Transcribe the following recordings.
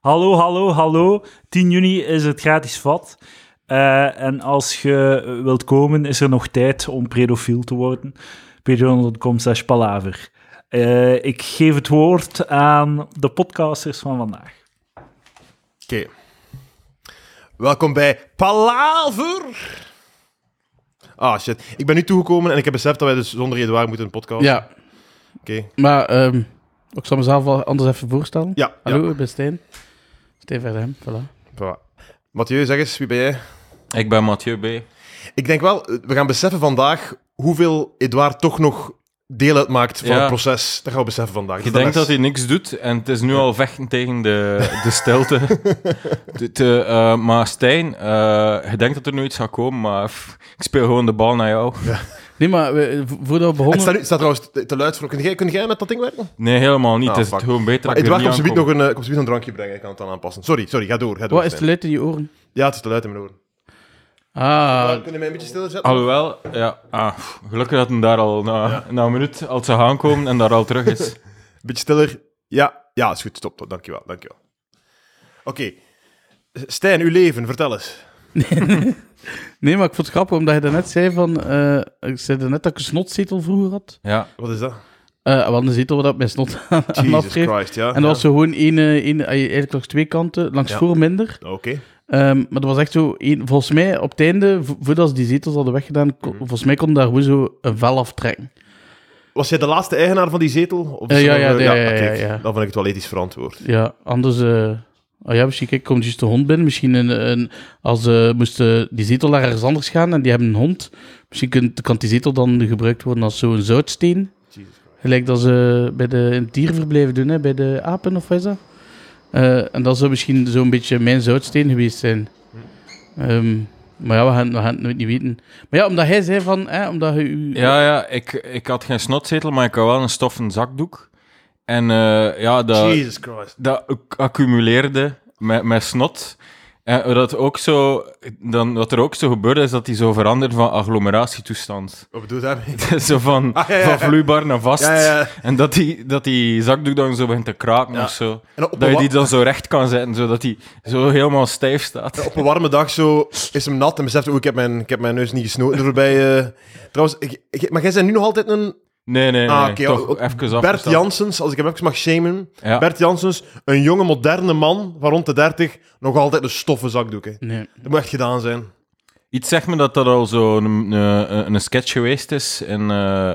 Hallo, hallo, hallo. 10 juni is het gratis vat. Eh, en als je wilt komen, is er nog tijd om pedofiel te worden. Patreon.com slash palaver. Eh, ik geef het woord aan de podcasters van vandaag. Oké. Welkom bij Palaver. Ah, shit. Ik ben nu toegekomen en ik heb beseft dat wij dus zonder Edouard moeten een podcast. Ja, Oké. maar ehm, ik zal mezelf wel anders even voorstellen. Ja. Hallo, ja. ik ben Stijn. Stijn Verdem, voilà. Voilà. Mathieu, zeg eens, wie ben jij? Ik ben Mathieu B. Ik denk wel, eh, we gaan beseffen vandaag hoeveel Edouard toch nog deel uitmaakt van Ja. het proces. Dat gaan we beseffen vandaag. Je is de denkt les. dat hij niks doet en het is nu al vechten tegen de, de stilte. De- de, eh, maar Stijn, eh, je denkt dat er nu iets gaat komen, maar pff, ik speel gewoon de bal naar jou. Nee, maar we, vo- voordat we Het begonnen... staat, nu- het staat trouwens te- te luid voor. Kun jij, kun jij met dat ding werken? Nee, helemaal niet. Ah, het is fuck. gewoon beter Maar dat ik er Edouard, niet komt zometeen nog aankom. een, eh, komt zometeen een drankje brengen. Ik kan het dan aanpassen. Sorry, sorry. Ga door. Ga door Wat is Stijn. te luid in je oren? Ja, het is te luid in mijn oren. Ah, Kunnen mij een beetje stilzetten? Alhoewel, ja, ah, pff, gelukkig dat hem daar al na, na een minuut al zou aankomen en daar al terug is. Een beetje stiller. Ja, ja, is goed. Stop. stop. Dankjewel. Dankjewel. Oké. Stijn, uw leven. Vertel eens. nee, maar ik vond het grappig, omdat je daarnet zei van... eh, ik zei daarnet dat ik een snotzetel vroeger had. Ja. Wat is dat? Eh we hadden een zetel waar dat mijn snot aan, aan Jesus afgeeft. Christ, ja. En dat was Ja. zo gewoon één, eh, één, eh, eigenlijk langs twee kanten, langs Ja. voor minder. Oké. Ehm, maar dat was echt zo, één, volgens mij op het einde, vo- voordat ze die zetels hadden weggedaan, Mhm. kon- volgens mij konden daar gewoon zo een vel aftrekken. Was jij de laatste eigenaar van die zetel? Of is Eh, ja, er nog, ja, eh, ja, ja, oké. ja, ja. Dan vind ik het wel ethisch verantwoord. Ja, anders. eh, ah ja, misschien kijk, komt juist de hond binnen. Misschien een, een, als eh moest eh, die zetel naar ergens anders gaan en die hebben een hond. Misschien kunt, kan die zetel dan gebruikt worden als zo'n zoutsteen. Jesus Christ. Gelijk dat ze bij de, in het dierverblijf doen, hè, bij de apen of wat is dat? Eh, en dat zou misschien zo'n beetje mijn zoutsteen geweest zijn. Hm. Ehm, maar ja, we gaan, we gaan het nooit niet weten. Maar ja, omdat hij zei van, hè, omdat je u- Ja, ja, ik, ik had geen snotzetel, maar ik had wel een stoffen zakdoek. En eh, ja, dat, Jesus Christ. dat acc- accumuleerde met, met snot. En dat, ook zo, dan, wat er ook zo gebeurde, is dat die zo veranderde van agglomeratietoestand. Wat bedoel je daarmee? zo van, Ah, ja, ja, ja. van vloeibaar naar vast. Ja, ja, ja. En dat die, dat die zakdoek dan zo begint te kraken Ja. of zo. En op, Dat een je wa- die dan zo recht kan zetten, zodat die zo helemaal stijf staat. op een warme dag zo is hem nat en beseft, oh, ik heb mijn, ik heb mijn neus niet gesnoten voorbij. Trouwens, ik, ik- maar jij bent nu nog altijd een Nee, nee, nee. Ah, oké, toch ook- even afgestapt. Bert Janssens, als ik hem even mag shamen. Ja. Bert Janssens, een jonge, moderne man van rond de 30, nog altijd een stoffen zakdoek. Hè. Nee. Dat moet echt gedaan zijn. Iets zegt me dat dat al zo'n een, een, een sketch geweest is in eh,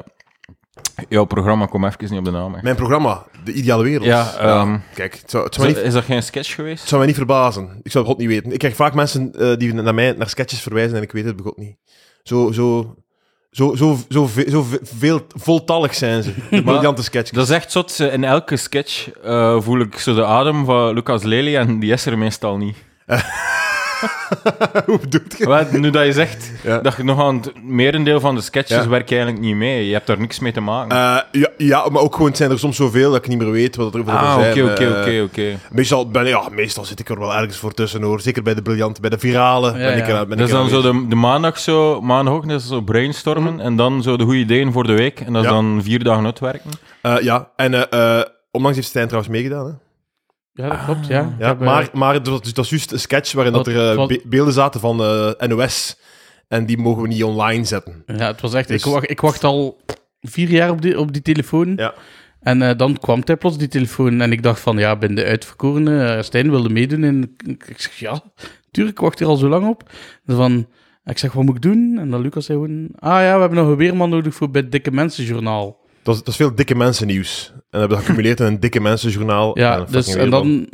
jouw programma. Kom even niet op de naam. hè. Mijn programma, De Ideale Wereld. Ja, ehm, Kijk, het zou, het Is zou mij dat- niet, is dat geen sketch geweest? het zou mij niet verbazen. Ik zou het god niet weten. Ik krijg vaak mensen eh, die naar mij naar sketches verwijzen en ik weet het bij god niet. Zo, zo, zo, zo, zo, ve- zo ve- veel, voltallig zijn ze. De briljante sketches. Dat is echt zot. eh, In elke sketch eh, voel ik zo de adem van Lucas Lely en die is er meestal niet. Hoe bedoelt je? Wel, nu dat je zegt Ja. dat je nog aan het merendeel van de sketches Ja. werk je eigenlijk niet mee. Je hebt daar niks mee te maken. Eh, ja, ja, maar ook gewoon, het zijn er soms zoveel dat ik niet meer weet wat er wat er ah, zijn. oké, oké, Eh, oké, oké. Meestal, ben, ja, meestal zit ik er wel ergens voor tussen hoor. Zeker bij de briljante, bij de virale. ben ik, ja. er- ben Dat is ik er dan zo aanwezig. de, de maandag zo, maandagochtend is zo brainstormen en dan zo de goede ideeën voor de week en dat is Mhm. Ja. dan vier dagen uitwerken. Eh, ja, en eh, eh, onlangs heeft Stijn trouwens meegedaan. Hè? Ja, dat klopt, ja. Ik Ja, heb, eh, maar maar dat, dat is juist een sketch waarin dat Wat- er eh, wat- be- beelden zaten van eh, NOS. En die mogen we niet online zetten. Ja, het was echt... Dus- Ik, wacht, ik wacht al vier jaar op die, op die telefoon. Ja. En eh, dan kwam hij plots, die telefoon. En ik dacht van, ja, ben de uitverkorene. eh, Stijn wilde meedoen. En ik, ik zeg, ja, tuurlijk, ik wacht hier al zo lang op. Dus van, ik zeg, wat moet ik doen? En dan Lucas zei gewoon, ah ja, we hebben nog een weerman nodig voor bij het Dikke Mensenjournaal. Dat is, dat is veel dikke mensen nieuws. En dat hebben we gecumuleerd in een dikke mensenjournaal. Ja, en een dus fucking en weerman.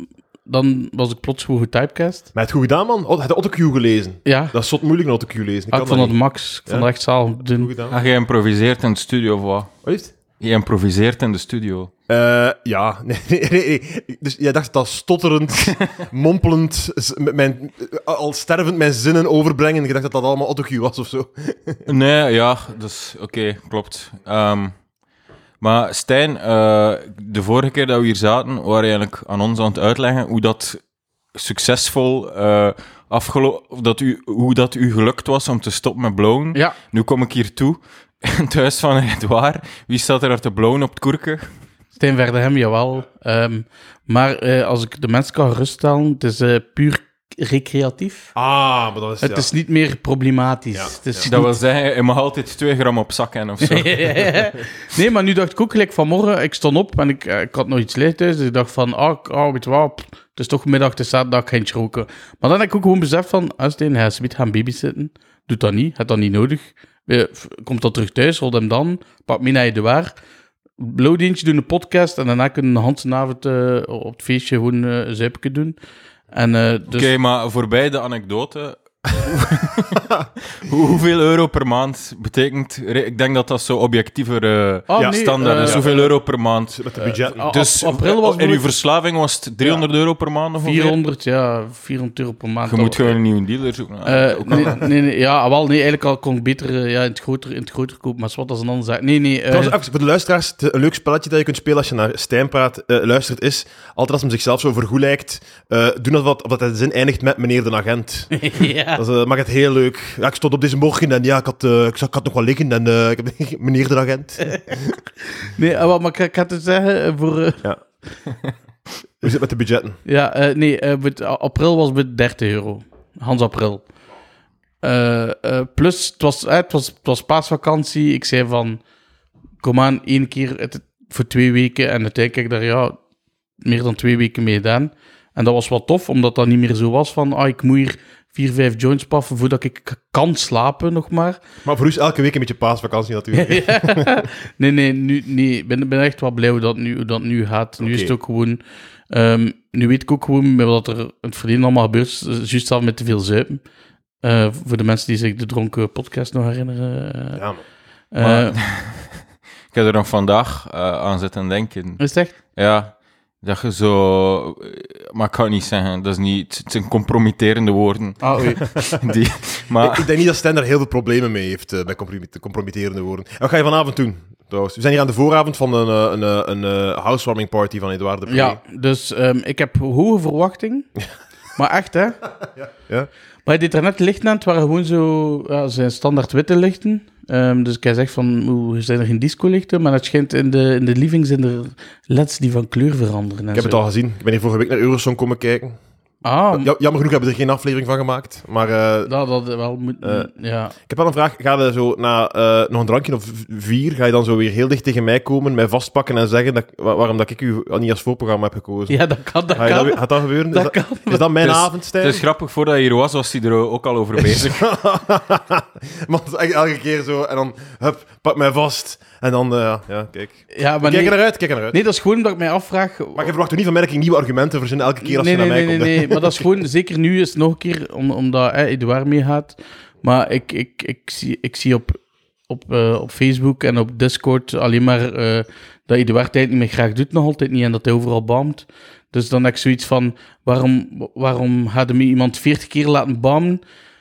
dan, dan was ik plots gewoon getypecast. Maar het goed gedaan, man. Oh, heb je autocue gelezen? Ja, Dat is zot moeilijk, een autocue lezen. Ik ah, kan ik vond dat dat niet. max. Ik vond Ja. dat echt zaal. Goed Doen. gedaan. Ah, je improviseert in de studio of wat? Ah. Wat is het? Je improviseert in de studio. Eh, ja, nee, nee, nee, nee. Dus jij dacht dat stotterend, mompelend, z- met mijn, eh, al stervend mijn zinnen overbrengen. Ik dacht dat dat allemaal autocue was of zo. Nee, ja, dus oké, klopt. Ehm, maar Stijn, eh, de vorige keer dat we hier zaten, waren je eigenlijk aan ons aan het uitleggen hoe dat succesvol eh afgelo- of dat u, hoe dat u gelukt was om te stoppen met blowen. Ja, Nu kom ik hier toe, in het huis van Edouard. Wie staat er daar te blowen op het koerken? Stijn Verdehem, jawel. Ehm, maar eh, als ik de mensen kan geruststellen, het is eh, puur recreatief. Ah, maar dat is... het ja. is niet meer problematisch. Ja, Het is ja. Dat niet- wil zeggen, je mag altijd 2 gram op zak hebben of zo. nee, maar nu dacht ik ook gelijk vanmorgen. Ik stond op en ik, eh, ik had nog iets leeg thuis. Dus ik dacht van, ah, ik- ah, weet je wat, pff, het is toch middag, het is zaterdag, geen roken. Maar dan heb ik ook gewoon beseft van, als hij gaat zometeen gaan babysitten, doet dat niet, had dat niet nodig. Eh, f- Komt dan terug thuis, rol hem dan, pak mee naar je de waar. Bloodientje doen een podcast en daarna kunnen we een handsenavond eh, op het feestje gewoon eh, een zuipje doen. En, eh, dus, Oké, maar voorbij de anekdote. hoe- hoeveel euro per maand betekent. re- Ik denk dat dat zo objectiever eh, Ah, Ja, standaard eh, is. Hoeveel euro per maand? Met de budget. a- Dus a- april was in uw moeilijk. verslaving was het 300 euro per maand of 400, ja, 400 euro per maand. Je moet gewoon een nieuwe dealer zoeken. Eh, Ah, ook al. nee, nee, nee, ja, wel, nee, eigenlijk al kon ik beter eh, ja, in, het groter, in het groter kopen, maar wat als een andere zaak. Nee, nee, eh, Trouwens, even voor de luisteraars, het is een leuk spelletje dat je kunt spelen als je naar Stijn praat, eh, luistert, is altijd als hem zichzelf zo vergoed lijkt, eh, doen dat wat, omdat hij de zin eindigt met meneer de agent. ja. Dat eh, maakt het heel leuk. Ja, ik stond op deze morgen en ja, ik had, eh, ik, zag- ik had nog wel liggen en eh, ik heb meneer de agent. nee eh, wel, maar ik, ik had het zeggen, eh, voor, eh, Hoe zit het met de budgetten? ja, eh, nee, eh, met- a- april was het 30 euro. Hans april. Eh, eh, plus, het was, eh, het, was, het was paasvakantie, ik zei van, kom aan, één keer het- voor twee weken, en uiteindelijk heb ik daar, ja, meer dan twee weken mee gedaan. En dat was wel tof, omdat dat niet meer zo was van, ah, ik moet hier vier, vijf joints paffen voordat ik kan slapen nog maar. Maar voor u is elke week een beetje paasvakantie natuurlijk. nee, nee, nu, nee, ik ben, ben echt wel blij hoe dat nu, hoe dat nu gaat. Nu is het Oké. ook gewoon... ehm, nu weet ik ook gewoon met wat er in het verleden allemaal gebeurd is. eh, Juist al met te veel zuipen. Eh, voor de mensen die zich de dronken podcast nog herinneren. eh, Ja, man. eh, Maar- Ik heb er nog vandaag eh, aan zitten denken. is het echt? Ja, dat je zo. eh, Maar ik kan het niet zeggen, dat is niet. Het zijn compromitterende woorden. Ah, oei. Die, maar Ik, ik denk niet dat Stijn daar heel veel problemen mee heeft eh, bij compromit- compromitterende woorden. En wat ga je vanavond doen? Trouwens, we zijn hier aan de vooravond van een, eh, een, eh, een, eh, housewarming party van Edouard de Pre. Ja, dus ehm, ik heb hoge verwachting. Maar echt, hè? Ja. Maar hij deed er net lichten aan. Het waren gewoon zo ja, zijn standaard witte lichten. Ehm, dus hij zegt van, hoe zijn er geen disco-lichten? Maar het schijnt in de, in de living zijn er leds die van kleur veranderen. En Ik heb het al gezien. Ik ben hier vorige week naar Eurosong komen kijken. Ah, Ja, jammer genoeg hebben we er geen aflevering van gemaakt. Maar eh, dat, dat wel moet... Eh, ja. ik heb wel een vraag. Ga je zo na eh, nog een drankje of v- vier, ga je dan zo weer heel dicht tegen mij komen, mij vastpakken en zeggen dat, wa- waarom dat ik u al niet als voorprogramma heb gekozen? ja, dat kan, dat Ga je dat, kan. weer- gaat dat gebeuren? Dat is, dat, kan. is dat mijn Het is- avond, Stijn? het is grappig, voordat je hier was, was hij er ook al over bezig. Want het is echt elke keer zo, en dan, hup, pak mij vast. En dan, eh, ja, kijk. Ja, maar kijk nee, er naar uit, kijk er naar uit. nee, dat is gewoon omdat ik mij afvraag... Maar je verwacht toch niet van mij dat ik nieuwe argumenten verzin elke keer als je naar mij nee, komt? Nee, nee, maar dat is gewoon, zeker nu is het nog een keer, om, omdat hè, Edouard meegaat. Maar ik, ik, ik zie, ik zie op, op, eh, op Facebook en op Discord alleen maar eh, dat Edouard tijd niet meer graag doet, nog altijd niet, en dat hij overal bamt. Dus dan heb ik zoiets van, waarom, waarom gaat hem iemand 40 keer laten bammen?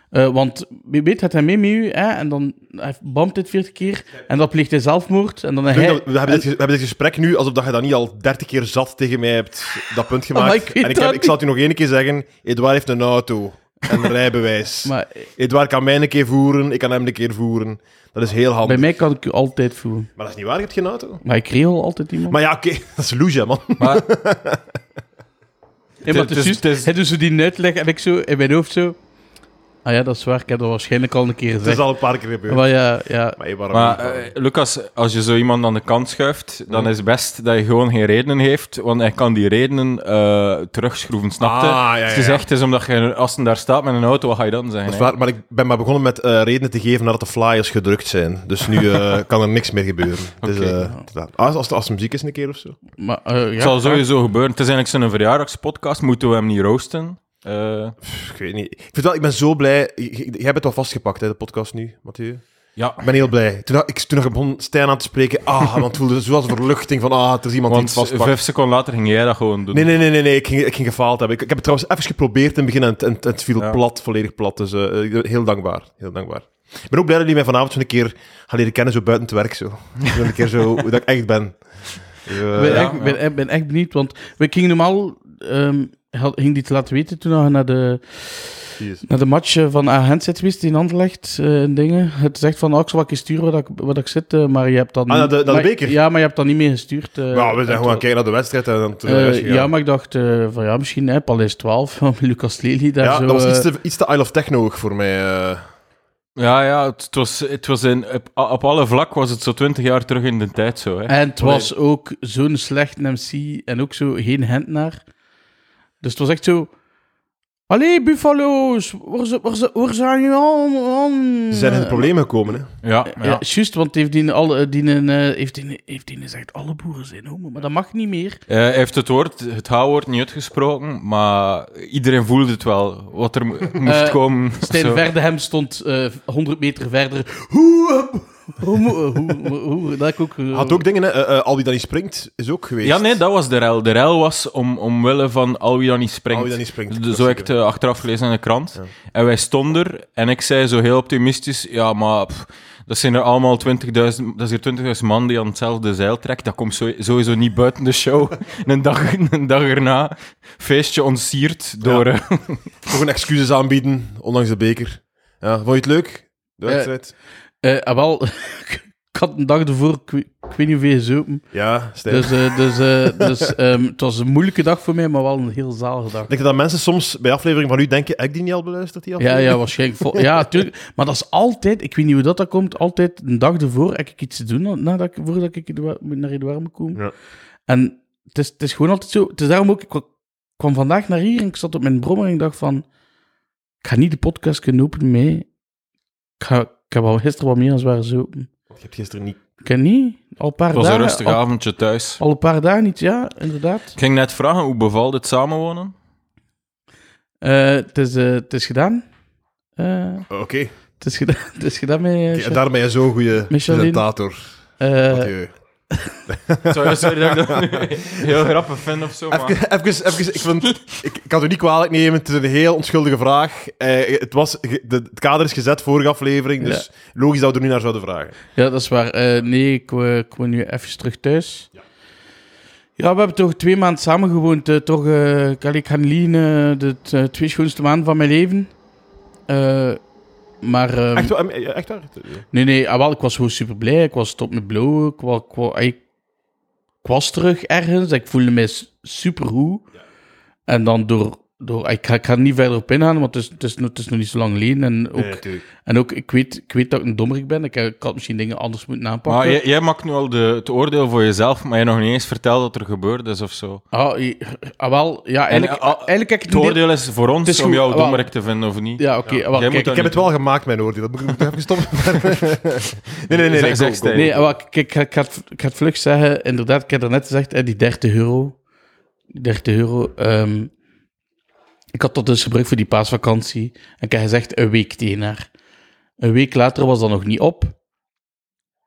Eh, want wie weet, gaat hij mee met u, hè? en dan hij bamt dit 40 keer, en dan pleegt hij zelfmoord, en dan Ik denk hij... dat we, we hebben dit, ge- we hebben dit gesprek nu alsof dat je dat niet al dertig keer zat tegen mij hebt dat punt gemaakt. Maar ik weet en ik, Oh dat heb, ik zal het u nog één keer zeggen. Edouard heeft een auto en een rijbewijs. Maar eh, Edouard kan mij een keer voeren, ik kan hem een keer voeren. Dat is heel handig. bij mij kan ik u altijd voelen. Maar dat is niet waar, je hebt geen auto. Maar ik regel altijd iemand. Maar ja, oké, dat is loesje, man. Maar Ja, maar het is Het is- juist, het is- hij doet zo die uitleg en ik zo in mijn hoofd zo... Ah ja, dat is waar, ik heb dat waarschijnlijk al een keer Dat is gezegd. al een paar keer gebeurd. Maar ja, ja. Maar, Hmm. hey, waarom Maar niet? eh, Lucas, als je zo iemand aan de kant schuift, dan is het best dat je gewoon geen redenen heeft, want hij kan die redenen eh, terugschroeven, snapte? Ah, ja, ja, Als je ja. zegt, het is omdat je, als hij daar staat met een auto, wat ga je dan zeggen? Dat is hè? waar, maar ik ben maar begonnen met eh, redenen te geven nadat de flyers gedrukt zijn. Dus nu eh, kan er niks meer gebeuren. Het is, Oké. eh, inderdaad. als, als, als er muziek is een keer of zo. Maar, eh, ja. Het zal sowieso gebeuren. Het is eigenlijk zijn verjaardagspodcast, moeten we hem niet roosten? Eh, Ik weet niet. Ik, vind wel, ik ben zo blij. J- j- Jij hebt het wel vastgepakt, hè, de podcast nu, Mathieu. ja, Ik ben heel blij. Toen ik toen ik begon Stijn aan te spreken, ah, want het voelde zoals een verluchting van, ah, er is iemand die want het vastpakt. vijf seconden later ging jij dat gewoon doen. Nee, nee, nee, nee, nee. Ik, ging, ik ging gefaald hebben. Ik, ik heb het trouwens even geprobeerd in het begin en het, en het- het viel Ja. plat, volledig plat. Dus eh, ik ben heel dankbaar. Heel dankbaar. Ik ben ook blij dat jullie mij vanavond zo een keer gaan leren kennen, zo buiten het werk. Zo. Zo een keer zo, hoe dat ik echt ben. Dus, eh, Ik ben, ja, echt, ik ben, ik ben echt benieuwd, want we gingen normaal... ehm had, ging die te laten weten toen we naar de... precies. naar de match eh, van agent zit geweest die in hand legt eh, en dingen. Het zegt van, oh, ik zal wel een keer sturen waar ik, waar ik zit, eh, maar je hebt dan Ah, naar de- naar de beker? Ja, maar je hebt dan niet meer gestuurd. eh, Ja, we uit- zijn gewoon aan het kijken naar de wedstrijd en dan terug Eh, naar huis gegaan. ja, maar ik dacht eh, van ja, misschien hè, Paleis 12 van Lucas Lely. Daar Ja, zo, dat was eh, iets te, iets te Isle of Techno voor mij. eh. Ja, ja, het, het was, het was in, op, op alle vlak was het zo twintig jaar terug in de tijd zo. Hè. Eh, En het was ook zo'n slecht MC en ook zo geen hentenaar. Dus het was echt zo... Allee, Buffalo's, waar, ze- waar, ze- waar zijn jullie al? Ze zijn in Eh, het probleem gekomen, hè. Ja, ja. Ja, eh, juist, want heeft die, alle, die, een, eh, heeft die, heeft die gezegd, alle boeren zijn homo, maar dat mag niet meer. Eh, hij heeft het woord, het H-woord niet uitgesproken, maar iedereen voelde het wel, wat er mo- moest Eh, komen. Stijn Zo. Verdehem stond eh 100 meter verder. Hoe, eh, homo, hoe, hoe, hoe- dat ik ook... Had ook dingen, hè. eh, eh, al wie dan niet springt, is ook geweest. Ja, nee, dat was de rel. De rel was om, omwille van al wie dan niet springt. Al wie dan niet springt, De- dat zo heb ik zeker. het eh, achteraf gelezen in de krant. En wij stonden er en ik zei zo heel optimistisch: ja, maar pff, dat zijn er allemaal 20.000, dat is hier 20.000 man die aan hetzelfde zeil trekt. Dat komt zo- sowieso niet buiten de show. En een, dag, een dag erna, feestje ontsierd door. eh, Nog een excuses aanbieden, ondanks de beker. Ja, vond je het leuk? De Eh. wedstrijd? Eh, ah, wel, ik had een dag ervoor, ik, weet- ik weet niet hoeveel gezopen. Ja, Stijn. Dus, eh, dus, eh, dus ehm, het was een moeilijke dag voor mij, maar wel een heel zalige dag. Ik denk dat mensen soms bij aflevering van u denken, heb ik die niet al beluisterd, die Ja, aflevering? ja, waarschijnlijk. Vol- Ja, tuurlijk. Maar dat is altijd, ik weet niet hoe dat, dat komt, altijd een dag ervoor heb ik iets te doen nadat ik, voordat ik Edouard- moet naar Edouard moet komen. Ja. En het is, het is gewoon altijd zo. Het is daarom ook, ik kwa- kwam vandaag naar hier en ik zat op mijn brommer en ik dacht van, ik ga niet de podcast kunnen openen mee. Ik, ga, ik heb al gisteren wat meer als waren zo. Ik heb gisteren niet... Ik ken niet, al een paar Het was een dagen. rustig al- avondje thuis. Al een paar dagen niet, ja, inderdaad. Ik ging net vragen hoe bevalt het samenwonen? Eh, Het is, eh, het is gedaan. Eh, Oké. Het is gedaan. Het is gedaan met... eh, Oké, en Sja- daarom ben je zo'n goede Michelin. presentator. eh, Mathieu. Sorry, sorry dat ik dat nu heel grappig vind of zo. Maar... Even, even, even, ik, vind, ik, ik kan het u niet kwalijk nemen, het is een heel onschuldige vraag. Eh, het, was, ge- de, het kader is gezet vorige aflevering, dus logisch dat we er nu naar zouden vragen. Ja, dat is waar. Eh, nee, ik, eh, ik woon nu even terug thuis. Ja. we hebben toch twee maanden samen gewoond. eh, toch, eh ik- allee, ik ga niet liegen, eh, de t- eh, twee schoonste maanden van mijn leven. Eh, maar... ehm, Echt, wa- eh, echt waar? Nee, nee, ah, wel, ik was gewoon super blij. Ik was top met blowen. Ik, wa- ik, wa- ik, ik was terug ergens. Ik voelde me super goed. En dan door. door ik, ga, ik ga er niet verder op ingaan, want het is, het is, nog- het is nog niet zo lang geleden. En ook, en ook ik, weet, ik weet dat ik een dommerik ben. Ik, ik had misschien dingen anders moeten Maar aanpakken. jij, jij maakt nu al de, het oordeel voor jezelf, maar je hebt nog niet eens verteld wat er gebeurd is of zo. ah, je- ah, wel, ja, eigenlijk, ah, eigenlijk heb ik Het een deel- oordeel is voor ons is om goed, jou wel- dommerik te vinden of niet. Ja, oké. ah, wel, Jij moet kijk, dat Ik heb het wel gemaakt, mijn oordeel. Dat moet ik moet ik even stoppen. nee, nee, nee. nee, Zeg- zeg, go, go. Stijn. Nee, maar ik, ik, ik, ga het, ik ga het vlug zeggen. Inderdaad, ik heb daarnet gezegd, hè, die 30 euro. die 30 euro. ehm, ik had dat dus gebruikt voor die paasvakantie. En ik heb gezegd, een week tegen haar. Een week later was dat nog niet op.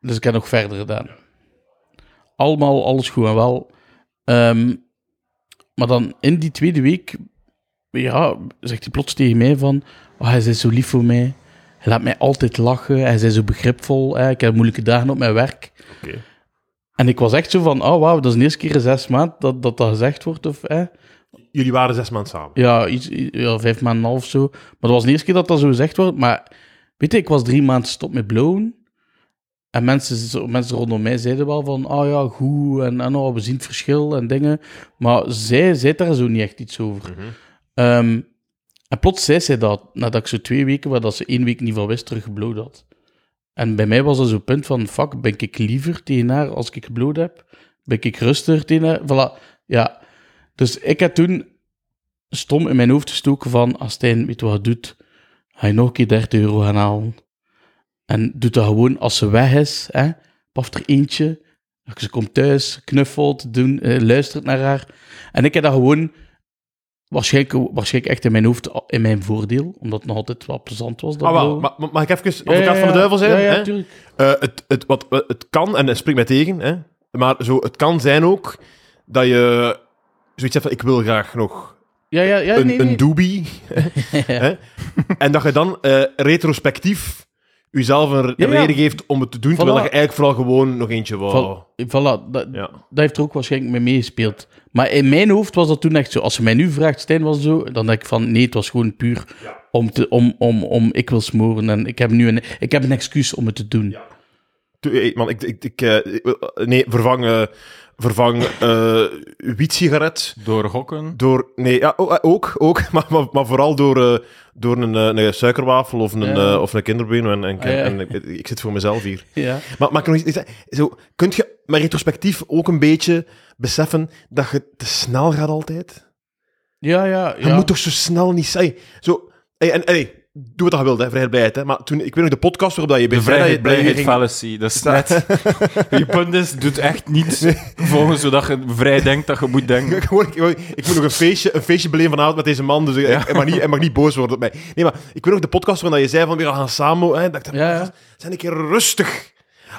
Dus ik heb nog verder gedaan. Allemaal, alles goed en wel. Ehm, maar dan in die tweede week, ja, zegt hij plots tegen mij van, oh, hij is zo lief voor mij. Hij laat mij altijd lachen. Hij is zo begripvol. Hè. Ik heb moeilijke dagen op mijn werk. Oké. En ik was echt zo van, oh wauw, dat is de eerste keer in zes maanden dat, dat dat gezegd wordt. Of, hè. Jullie waren zes maanden samen. Ja, iets, i- ja, vijf maanden en een half of zo. Maar dat was de eerste keer dat dat zo gezegd wordt. Maar weet je, ik was drie maanden stop met blowen. En mensen, zo- mensen rondom mij zeiden wel van, ah ja, goed, en, en oh, we zien het verschil en dingen. Maar zij zei daar zo niet echt iets over. Ehm, en plots zei zij dat, nadat ik zo twee weken, waar dat ze één week niet van wist, terug geblowd had. En bij mij was dat zo'n punt van, fuck, ben ik liever tegen haar als ik geblowd heb? Ben ik rustiger tegen haar? Voilà, ja. Dus ik heb toen stom in mijn hoofd gestoken van, als Stijn, weet je wat je doet? Ga je nog een keer 30 euro gaan halen? En doe dat gewoon als ze weg is, hè? Paft er eentje, ze komt thuis, knuffelt, doen, eh, luistert naar haar. En ik heb dat gewoon waarschijnlijk, waarschijnlijk echt in mijn hoofd al- in mijn voordeel, omdat het nog altijd wat plezant was. Dat Ah, wel, blauwe. ma- ma- mag ik even Ja, ja, advocaat van de ja. duivel zijn? Ja, ja, hè? tuurlijk. Eh, het, het, wat, wat- het kan, en het spreekt mij tegen, hè, maar zo, het kan zijn ook dat je zoiets hebt van, ik wil graag nog Ja, ja, ja, een, nee, nee. een doobie. hè? En dat je dan eh, retrospectief jezelf een Ja, ja. reden geeft om het te doen, terwijl je eigenlijk vooral gewoon nog eentje wou. Val- Voilà, dat, Ja. dat heeft er ook waarschijnlijk mee meegespeeld. Maar in mijn hoofd was dat toen echt zo. Als ze mij nu vraagt, Stijn was het zo, dan denk ik van nee, het was gewoon puur om, te, om, om, om ik wil smoren en ik heb nu een, ik heb een excuus om het te doen. Toe- hey, Man, ik, ik, ik, eh, ik wil- nee, vervang, eh vervang eh wiet-sigaret Door gokken. door... Nee, ja, o- eh, ook, ook maar, maar, maar vooral door, eh, door een, eh, een suikerwafel of een, Ja. eh, of een kinderbeen. En, en, Ah, ja. en ik, ik zit voor mezelf hier. Ja. Maar, maar ik kan nog iets zeggen? Zo, kun je maar retrospectief ook een beetje beseffen dat je te snel gaat altijd? Ja, ja, Je ja. moet toch zo snel niet zijn? Zo, hey, en, hey, doe wat je wilt, hè, vrijheid, blijheid. Hè, maar toen, ik weet nog de podcast waarop dat je De zei dat je- vrijheid, dat je blijheid, ging- fallacy. Dat is net... Je punt is, doet echt niet volgens zodat je vrij denkt dat je moet denken. Ik, gewoon- ik, ik moet nog een feestje, een feestje beleven vanavond met deze man, dus ik, Ja. ik mag niet, hij mag niet boos worden op mij. Nee, maar ik weet nog de podcast waarin dat je zei van, we gaan samen... Hè, dat ik dacht, Ja, ja. zijn een keer rustig.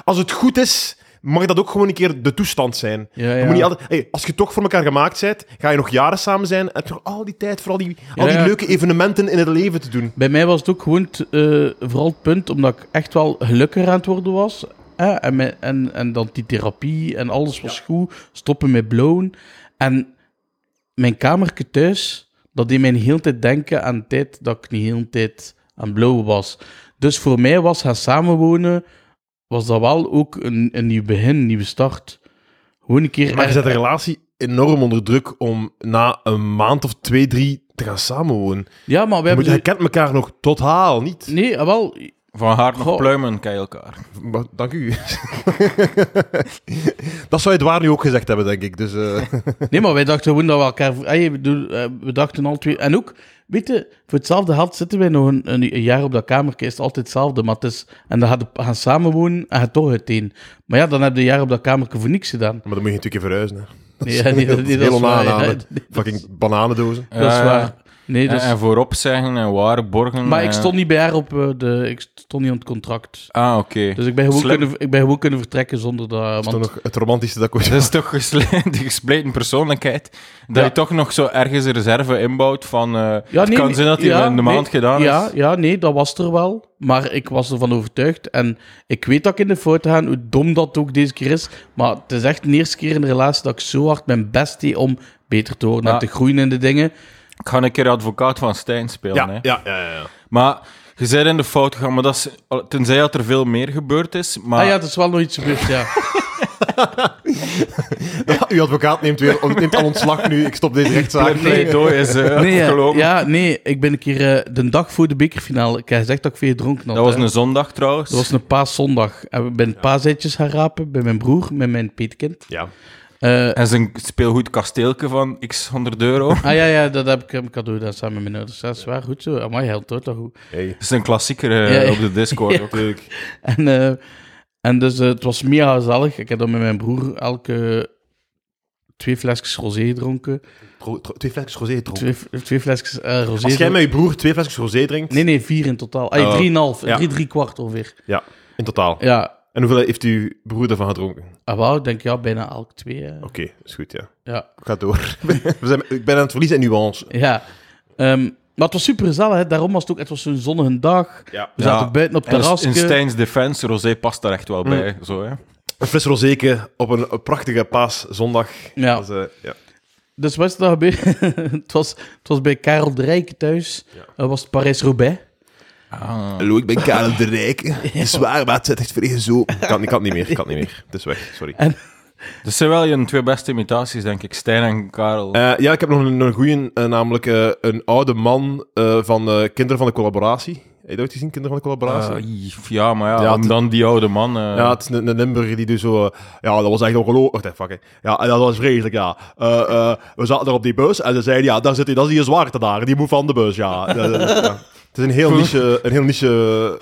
Als het goed is, mag dat ook gewoon een keer de toestand zijn. Ja, Je ja. Moet niet altijd, hey, als je toch voor elkaar gemaakt bent, ga je nog jaren samen zijn. Heb je nog al die tijd voor al die, al Ja, die ja. leuke evenementen in het leven te doen. Bij mij was het ook gewoon t- eh, vooral het punt, omdat ik echt wel gelukkiger aan het worden was. Hè? En, me- en, en dan die therapie en alles was goed. Stoppen met blowen. En mijn kamertje thuis, dat deed mij de hele tijd denken aan de tijd dat ik niet de hele tijd aan blowen was. Dus voor mij was gaan samenwonen, was dat wel ook een, een nieuw begin, een nieuwe start. Gewoon een keer... Maar je er- zet de relatie enorm onder druk om na een maand of twee, drie te gaan samenwonen. Ja, maar we Je, moet, hebben... je kent elkaar nog totaal niet. Nee, ah, wel... Van haar nog Goh. pluimen, kei elkaar. Maar, dank u. dat zou je het waar nu ook gezegd hebben, denk ik. Dus, eh, Nee, maar wij dachten gewoon dat we elkaar... Hey, ik bedoel, eh, we dachten al twee... En ook, weet je, voor hetzelfde geld zitten wij nog een, een, een jaar op dat kamertje. Is het altijd hetzelfde, maar het is... En dan gaan we gaan samenwonen en gaat toch uiteen. Maar ja, dan heb je een jaar op dat kamertje voor niks gedaan. Maar dan moet je natuurlijk even verhuizen. Hè. Nee, ja, nee, dat, nee, dat heel is waar. ja. onaanhalig. Nee, dat is- Fucking bananendozen. Dat is Ja, waar. Nee, Eh, En, dat is- en voorop zeggen en waar borgen. Maar en- ik stond niet bij haar op eh, de... Ik stond niet aan het contract. Ah, oké. Dus ik ben gewoon, Slim. kunnen, ik ben gewoon kunnen vertrekken zonder dat... Dat is Want, toch nog het romantische dat ik ooit- Dat is toch gesle- de gespleten persoonlijkheid. Dat Ja. je toch nog zo ergens een reserve inbouwt van... eh, het kan zijn dat hij ja, in de nee, maand gedaan ja, is. Ja, nee, dat was er wel. Maar ik was ervan overtuigd. En ik weet dat ik in de fout ga, hoe dom dat ook deze keer is. Maar het is echt de eerste keer in de relatie dat ik zo hard mijn best deed om beter te worden Ja. en te groeien in de dingen. Ik ga een keer advocaat van Stijn spelen. Ja, hè. ja, ja, ja, ja. Maar je bent in de fout gegaan, maar dat is, tenzij dat er veel meer gebeurd is. Maar Ah ja, er is wel nog iets gebeurd, ja. Ja, Uw advocaat neemt, weer, neemt al ontslag nu. Ik stop deze rechtszaak. het pleidooi is eh, Nee, ja, afgelopen. ja, nee, ik ben een keer eh, de dag voor de bekerfinale. Ik heb gezegd dat ik veel dronken had. Dat was hè. een zondag trouwens. dat was een paaszondag. En we ben paaseitjes gaan rapen bij mijn broer, met mijn peetkind. Ja. Eh, En zijn speelgoed kasteelke van x 100 euro. Ah ja, ja, dat heb ik hem cadeau gedaan samen met mijn ouders. Dat is waar, goed zo. Amai, hij houdt dat goed. Hey. Dat is een klassieker eh, Ja, ja. op de Discord. ook. En, eh, en dus eh, het was mega gezellig. Ik heb dan met mijn broer elke twee flesjes rosé gedronken. Tro- tro- Twee flesjes rosé dronken. Twee, twee flesjes eh, rosé. Als jij dronken. met je broer twee flesjes rosé drinkt, Nee, nee, vier in totaal. Ay, Oh. drieënhalf, Ja. drie, drie kwart ongeveer. in totaal. Ja, En hoeveel heeft uw broer daarvan gedronken? Oké, ah, wauw, ik denk ja, bijna elk twee. hè. is goed, ja. Ja, Ik ga door. We zijn, ik ben aan het verliezen in nuance. ja. Ehm, maar het was super gezellig, hè. daarom was het ook, het was zo'n zonnige dag. Ja. We zaten Ja. buiten op het Mm. En terras. in Stijn's defense, Rosé past daar echt wel bij. Zo, hè. Een fles roséke op een, een prachtige paaszondag. Ja. Dat is, eh, ja. Dus wat is er gebeurd? het, was, het was bij Karel de Rijke thuis. Dat was het Parijs-Roubaix. Ah. Hallo, ik ben Karel de Rijk. Het is zwaar, maar het zit echt vrij zo. Ik kan, ik kan het niet meer, ik kan het niet meer. Het is weg, sorry. Dat zijn wel je twee beste imitaties, denk ik. Stijn en Karel. Eh, ja, ik heb nog een, een goeie, eh, namelijk eh, een oude man eh, van eh, Kinderen van de Collaboratie. Heb je dat ooit gezien, Kinderen van de Collaboratie? Eh, jef, ja, maar ja, Ja, om het- dan die oude man. eh, Ja, het is een, een Limburger die dus zo... eh, ja, dat was echt ongelooflijk. Wacht even, fuck, hè. Ja, en dat was vreselijk, ja. Eh, eh, we zaten daar op die bus en ze zeiden, ja, daar zit die, dat is die zwarte daar. Die moet van de bus, ja. Eh, eh, ja. Het is een heel niche... Een heel niche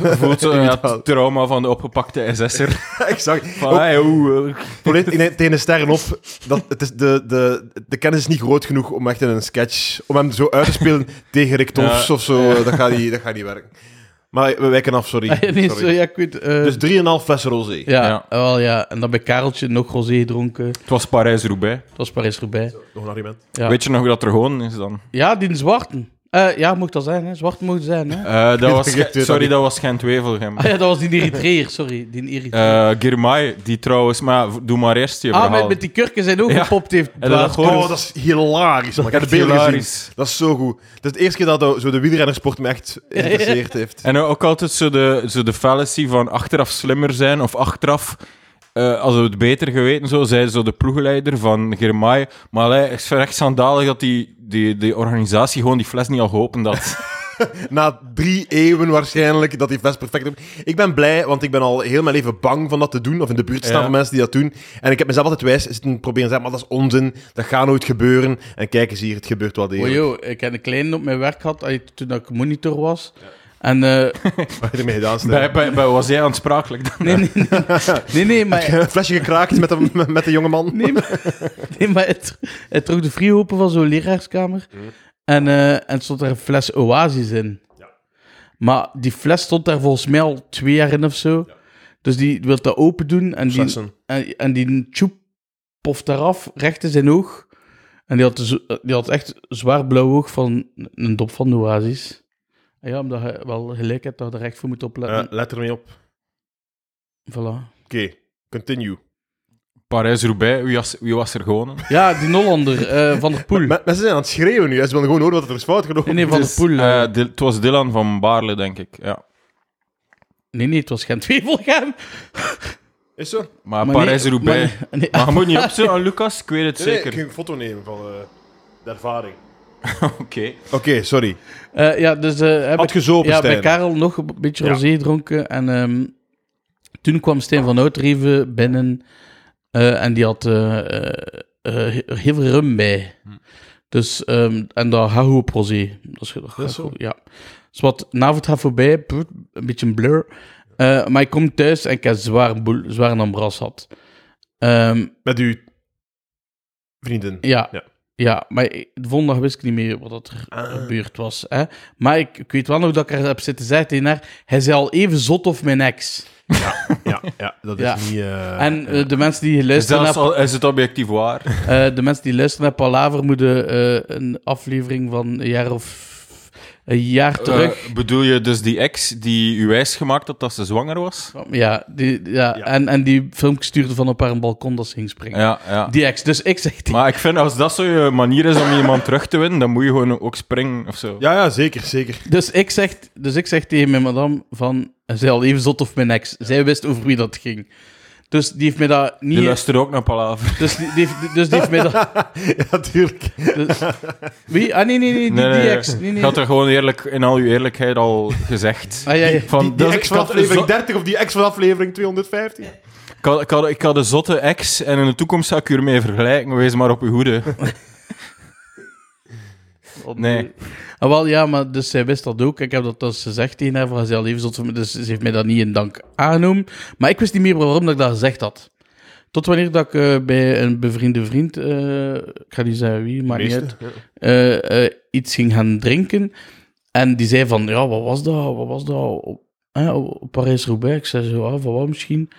voelt zo ja, eh, het trauma van de opgepakte SS'er. exact. Van, Ook- hey, hoe, eh, Probeer het in- tegen de sterren op. Dat, het is de, de, de kennis is niet groot genoeg om echt in een sketch... Om hem zo uit te spelen tegen Rick Tofs Ja. of zo. Dat gaat, niet, dat gaat niet werken. Maar we wijken af, sorry. Ah, nee, Sorry. zo, ja, ik weet, eh, Dus 3,5 flessen rosé. ja, Ja. Wel, ja, en dan bij Kareltje nog rosé gedronken. het was Parijs-Roubaix. Dat was Parijs-Roubaix. Nog een argument. Ja. Weet je nog dat er gewoon is dan? Ja, die zwarten. Eh, ja, mocht dat zijn, hè. Zwart mocht zijn, hè. Eh, dat was Ik weet Ge- dat sorry, niet. dat was Gent Wevelgem. Ah ja, dat was die Eritreer, sorry. Die Eritreer. Eh Girmay, die trouwens, maar v- doe maar eerst je ah, verhaal. met, met die kurken zijn ook Ja. gepopt heeft. Heb je dat Dwaas. gehoord? Oh, dat is hilarisch. man. ik heb de Echt beelden hilarisch. gezien. Dat is zo goed. Dat is de eerste keer dat de- zo de wielrennersport me echt geïnteresseerd heeft. En ook altijd zo de, zo de fallacy van achteraf slimmer zijn of achteraf, eh, als we het beter geweten, zo, zei zo de ploegleider van Girmay. Maar hij is echt schandalig dat die, die, die organisatie gewoon die fles niet al geopend had. Na drie eeuwen waarschijnlijk dat die vest perfect hebben. Ik ben blij, want ik ben al heel mijn leven bang van dat te doen. Of in de buurt staan Ja. van mensen die dat doen. En ik heb mezelf altijd wijs zitten proberen te zeggen, maar dat is onzin. Dat gaat nooit gebeuren. En kijk eens hier, het gebeurt wel Oh, degelijk. joh, ik heb een kleine op mijn werk gehad eh, toen ik monitor was. En, eh, Wat heb je ermee gedaan, Stijn? bij, bij, bij- was jij aansprakelijk dan? nee, nee, nee, nee, nee, maar Een flesje gekraakt met de, met de jongeman. Nee, maar, nee, maar hij, tro- hij trok de vrije open van zo'n leraarskamer. En, eh, en stond er een fles Oasis in. Maar die fles stond daar volgens mij al twee jaar in of zo. Dus die wil dat open doen. En die, Flessen. en, en die tjoep poft daaraf, recht in zijn oog. En die had, zo- die had echt zwaar blauw oog van een dop van de Oasis. En ja, omdat je wel gelijk hebt dat je er echt voor moet Eh, opletten. let er mee op. Oké, Voilà. continue. Parijs-Roubaix, wie, was- wie was er gewonnen? Ja, die Nollander eh, van der Poel. Me- mensen zijn aan het schreeuwen nu. hè. Ze willen gewoon horen wat er is fout gelopen. Nee, nee, van Dus, der Poel. eh. eh, Dil- het was Dylan van Baarle, denk ik. Ja. Nee, nee, het was geen twijfelgaan. Is zo? Maar, Parijs-Roubaix... Maar, Maar, nee, je moet niet opzoeken, Lucas, ik weet het Nee, nee, zeker. ik ging een foto nemen van eh, de ervaring. Oké. Oké, sorry. Eh, ja, dus eh heb Had ik gezopen, ja, bij Stijn. Karel nog een beetje Ja. rosé gedronken. En ehm, toen kwam Steen van Oudreven binnen. eh, en die had eh, eh, eh, heel veel rum bij. Dus, ehm, en dat Hahu op rosé. Dat is, dat gaat zo. goed, Ja. Dus wat, de avond gaat voorbij. pff, een beetje een blur. Eh, maar ik kom thuis en ik heb zwaar, boel, zwaar een ambras had. Ehm, Met uw vrienden. Ja. Ja. ja. maar ik- de volgende dag wist ik niet meer wat dat er Ah. gebeurd was. Hè. Maar ik, ik weet wel nog dat ik er heb zitten zeggen tegen haar... Hij is al even zot of mijn ex. Ja, ja dat is Ja. niet... eh, en eh, de mensen die Is, luisteren dat, naar... al- is het objectief waar? eh, de mensen die luisteren naar Palaver moeten eh, een aflevering van een jaar of... Een jaar terug... Eh, bedoel je dus die ex die u wijs gemaakt had dat ze zwanger was? ja, die, ja, Ja. En, en die filmpje stuurde van op haar een balkon dat ze ging springen. Ja, ja. Die ex. Dus ik zeg... tegen- Maar ik vind, als dat zo je manier is om iemand terug te winnen, dan moet je gewoon ook springen of zo. Ja, ja, zeker, zeker. Dus ik zeg, dus ik zeg tegen mijn madame van... Hij is al even zot of mijn ex. Zij wist over wie dat ging. Dus die heeft mij dat Die niet... luistert ook naar Palaver. Dus die, die heeft, dus die heeft mij dat... Ja, tuurlijk. dus- wie? Ah, nee, nee, nee, die, Nee, nee, die nee. ex. Nee, Je nee. had er gewoon eerlijk, in al uw eerlijkheid al gezegd. Ah, ja, ja. Van, Die, die dat is- ex van ik had een aflevering zo- 30 of die ex van aflevering 250. Ik had, ik, had, ik had een zotte ex en in de toekomst zou ik u ermee vergelijken. Wees maar op uw hoede. Nee. Ah, wel, ja, maar dus zij wist dat ook. Ik heb dat dus gezegd tegen haar van... Hij is al even zot of mijn- Dus ze heeft mij dat niet in dank aangenomen. Maar ik wist niet meer waarom dat ik dat gezegd had. Tot wanneer dat ik eh, bij een bevriende vriend... eh, ik ga niet zeggen wie, maakt niet uit. Meeste, ja. eh, eh, iets ging gaan drinken. En die zei van, ja, wat was dat? Wat was dat? Op, hè, op op Parijs-Roubaix. Ik zei zo, ah, van wat misschien?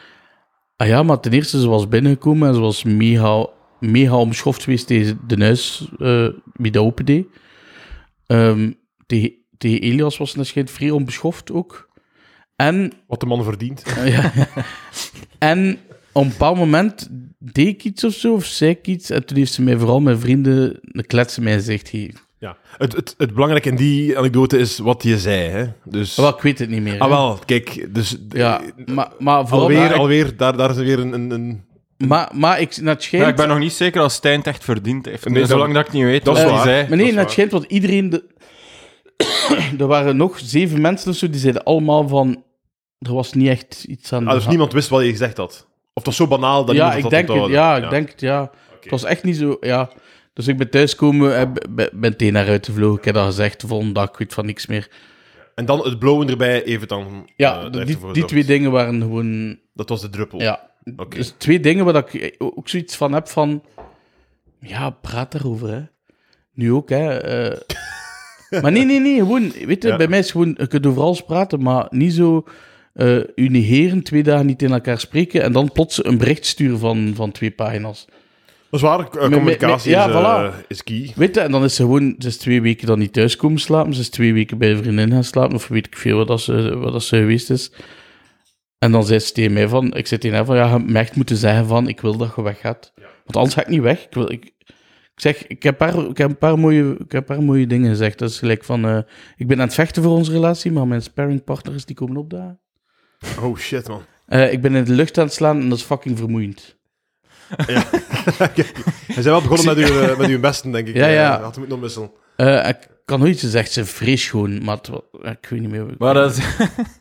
Ah ja, maar ten eerste, ze was binnengekomen en ze was mega, mega omschoft geweest tegen de neus eh wie dat opendeed. Ehm, tegen, tegen Elias was ze schijnt vrij onbeschoft ook. En Wat de man verdient. ja. En op een bepaald moment deed ik iets of zo, of zei ik iets. En toen heeft ze mij vooral mijn vrienden een klets in mijn gezicht gegeven. Ja. Het, het, het belangrijke in die anekdote is wat je zei. Hè? Dus... Ah, wel, ik weet het niet meer. Ah, hè. wel, kijk. Dus, Ja, maar, maar vooral... alweer, Alweer, alweer daar, daar is weer een... een, een... Maar, maar ik, naar het schijnt... Ja, ik ben nog niet zeker als Stijn het echt verdiend heeft. Nee, dat- Zolang dat ik niet weet dat dat is wat Eh, hij waar. zei. maar nee, dat is naar het schijnt, want iedereen... De... er waren nog zeven mensen of zo, die zeiden allemaal van... Er was niet echt iets aan Ah, de dus hand. niemand wist wat je gezegd had. Of dat was zo banaal dat ja, niemand ik dat denk het, onthouden. ja, ik denk het, ja. Het was echt niet zo, ja. Dus ik ben thuiskomen en b- b- ben meteen naar uit gevlogen. Ik heb dat gezegd, de volgende dag, ik weet van niks meer. En dan het blowen erbij even dan... eh, Ja, daar die, heeft die ervoor twee gezorgd. dingen waren gewoon, Dat was de druppel. ja. Oké. Dus twee dingen waar dat ik ook zoiets van heb van, ja, praat daarover, hè. Nu ook, hè. eh. maar nee, nee, nee, gewoon, weet je, Ja. bij mij is gewoon, je kunt over alles praten, maar niet zo... eh u negeren, twee dagen niet in elkaar spreken en dan plots een bericht sturen van, van twee pagina's. Dat is waar, eh, me- communicatie ja, is, eh, voilà. is key. Weet je, en dan is ze gewoon, ze is twee weken dan niet thuis komen slapen, ze is twee weken bij een vriendin gaan slapen, of weet ik veel wat, dat ze, wat dat ze geweest is. En dan zei ze tegen mij van, ik zit tegen haar van, ja, je hebt me echt moeten zeggen van, ik wil dat je weggaat. Want anders ga ik niet weg. Ik, wil, ik, ik zeg, ik heb, paar, ik, heb een paar mooie, ik heb een paar mooie dingen gezegd. Dat is gelijk van, eh, ik ben aan het vechten voor onze relatie, maar mijn sparringpartner is die komen opdagen. Oh shit, man. Eh, ik ben in de lucht aan het slaan en dat is fucking vermoeiend. We zijn wel begonnen met uw, eh, met uw besten, denk ik. Ja, Eh, ja. Had hem nog wisselen. Eh, ik kan nooit ze zegt, ze vrees gewoon, maar het wa- ik weet niet meer. hoe- Maar dat is-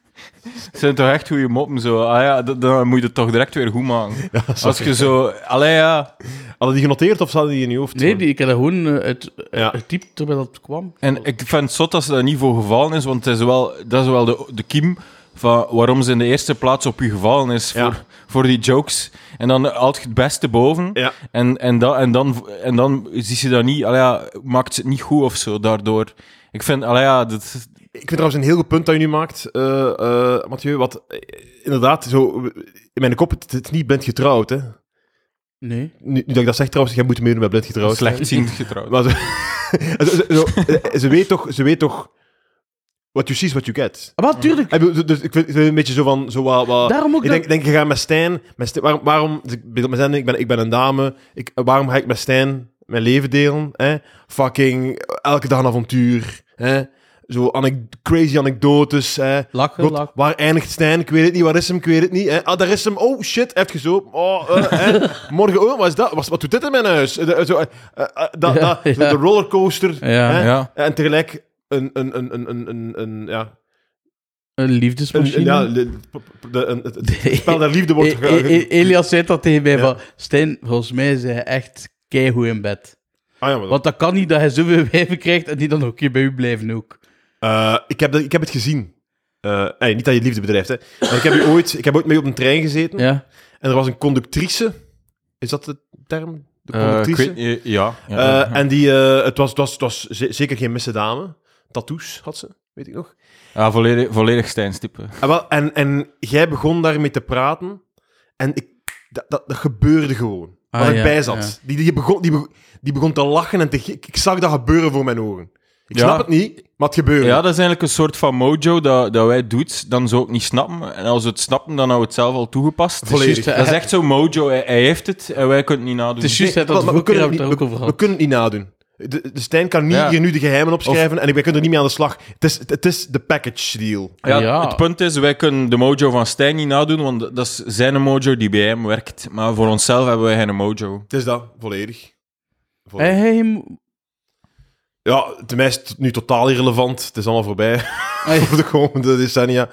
het zijn toch echt goede moppen zo. Ah ja, d- dan moet je het toch direct weer goed maken. Ja, Als sorry. je zo. Allee ja. Hadden die genoteerd of zaten die in je hoofd? Nee, die, ik heb dat gewoon eh, uit, Ja. getypt terwijl dat kwam. En ik vind het zot dat ze daar niet voor gevallen is, want het is wel, dat is wel de, de kiem van waarom ze in de eerste plaats op u gevallen is Ja. voor, voor die jokes. En dan altijd het beste boven. Ja. En, en, dan en, dan, en dan zie je dat niet, allee, ja, maakt ze het niet goed of zo daardoor. Ik vind, allee, ja, dat, Ik vind trouwens een heel goed punt dat je nu maakt, eh, eh, Mathieu. Wat eh, inderdaad, zo, eh, in mijn kop, het, het is niet blind getrouwd. Hè. Nu, Nee. nu dat ik dat zeg trouwens, jij moet meedoen met blind getrouwd. slechtziend getrouwd. Maar ze, ze, zo, eh, ze weet toch, ze weet toch, what you see is what you get. Maar Ah, tuurlijk. Ik bedoel, dus ik vind het een beetje zo van, zo wat... wat- Daarom ook Ah. ik dat- denk, denk, ik ga met Stijn... Met Stijn- waarom, waarom, dus ik bedoel, met Stijn, ik ben, ik ben een dame. Ik, waarom ga ik met Stijn mijn leven delen? Hè? Fucking elke dag een avontuur. Hè? Zo anek- crazy anekdotes. Hè? Lachen, God, lachen. waar eindigt Stijn? Ik weet het niet. Waar is hem? Ik weet het niet. Hè? Ah, daar is hem. Oh, shit. Even zo. Oh, eh, hè? Morgen, oh, wat is dat? Wat, wat doet dit in mijn huis? Eh, de- zo, eh, eh, eh, dat- Ja, dat- ja. De rollercoaster. Ja. hè? Ja. En tegelijk een... een, een, een, een, een, een ja, Een een, liefdesmachine. een- ja, de- de- een- het- het spel der liefde wordt... E- E- E- ge- Elias zei dat tegen mij Ja. van... Stijn, volgens mij is hij echt keigoed in bed. Ah, ja, maar dat- Want dat kan niet dat hij zoveel wijven krijgt en die dan ook een keer bij u blijven ook. Eh, ik, heb, dat- ik heb het gezien. Eh, nee, niet dat je liefde bedrijft, hè. Maar ik, heb u ooit, ik heb ooit mee op een trein gezeten Ja. en er was een conductrice. Is dat de term? De Eh, ik conductrice? weet niet, eh, ja. ja. Eh, en die, eh, het, was, het, was, het was ze- zeker geen misse dame. Tattoos had ze, weet ik nog. ja, volledig, volledig Stijnstippen. En, wel, en, en jij begon daarmee te praten en ik, dat, dat, dat gebeurde gewoon. Ah, Waar ik ja, bij zat. Die, die, begon, die, begon, die begon te lachen en te... gi- Ik, ik zag dat gebeuren voor mijn ogen. Ik Ja. snap het niet, maar het gebeurde. Ja, dat is eigenlijk een soort van mojo dat, dat wij doet, dan zo ook niet snappen. En als we het snappen, dan houden we het zelf al toegepast. Volledig. Dat is echt zo mojo. Hij, hij heeft het en wij kunnen het niet nadoen. Het is juist Nee, dat we maar- maar vorige keer kunnen hebben we het het daar ook niet- over we- We kunnen gehad. het niet nadoen. De, de Stijn kan niet Ja. hier nu de geheimen opschrijven en ik, wij kunnen er niet mee aan de slag. Het is, het, het is de package deal. ja, Ja. Het punt is, wij kunnen de mojo van Stijn niet nadoen, want dat is zijn mojo die bij hem werkt. Maar voor onszelf hebben wij geen mojo. Het is dat, volledig. Hey, volledig. hey, hem- Ja, ten is het nu totaal irrelevant. Het is allemaal voorbij Ah, ja. voor de komende decennia.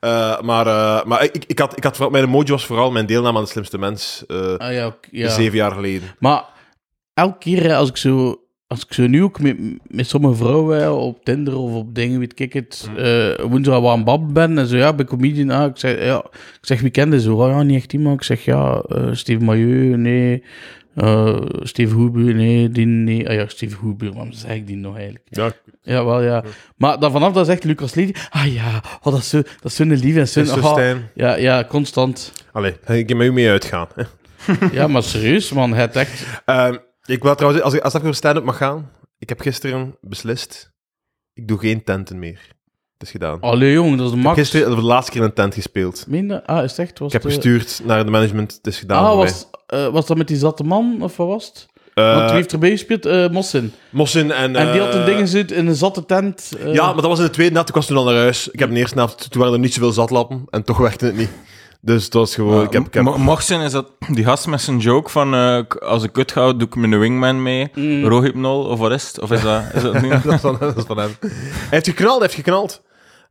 Eh, maar eh, maar ik, ik had, ik had vooral, mijn mojo was vooral mijn deelname aan de slimste mens. eh, Ah, ja, oké, ja. Zeven jaar geleden. Maar elke keer hè, als ik zo, als ik zo nu ook met, met sommige vrouwen hè, op Tinder of op dingen, weet ik het, Mm. eh woensdag wel aan het babbelen ben en zo, ja, bij comedian, ah, ik zeg, ja, ik zeg, wie kende zo? Ah, ja, niet echt iemand. Ik zeg, ja, eh Steve Mailleu, nee. eh Steve Hoebuur, nee, die, nee. Ah ja, Steve Hoebuur, waarom zeg ik die nog eigenlijk? Ja, Ja, wel, ja. Maar dan vanaf dat zegt Lucas Lely, ah ja, oh, dat is zo- dat is zo'n lief en zo'n... Is zo ah, Stijn. ja, ja, constant. Allee, ik kan met u mee uitgaan. hè. ja, maar serieus, man, het echt... Ehm, ik wil trouwens, als ik, als ik voor stand-up mag gaan, ik heb gisteren beslist, ik doe geen tenten meer. Het is gedaan. Allee, jong, dat is Ik de heb max. gisteren voor de laatste keer in een tent gespeeld. Minder? Ah, is het echt? Ik Was heb het, eh, gestuurd naar de management, het is gedaan. Ah, voor was, eh, was dat met die zatte man, of wat was het? mij. Want Eh, wie heeft erbij gespeeld? Eh, Mossin. Mossin en... en die eh, had een ding gezet in een zatte tent. eh, Ja, maar dat was in de tweede nacht, ik was toen al naar huis. Ik heb in de eerste nacht, toen waren er niet zoveel zatlappen en toch werkte het niet. Dus het was gewoon... ik heb, ik heb- Mo- Mocht zijn, is dat die gast met zijn joke van eh, k- als ik kut ga, doe ik mijn wingman mee, rohypnol of wat is het? Of is dat, is dat nu? dat, is van, dat is van hem. Hij heeft geknald, hij heeft geknald.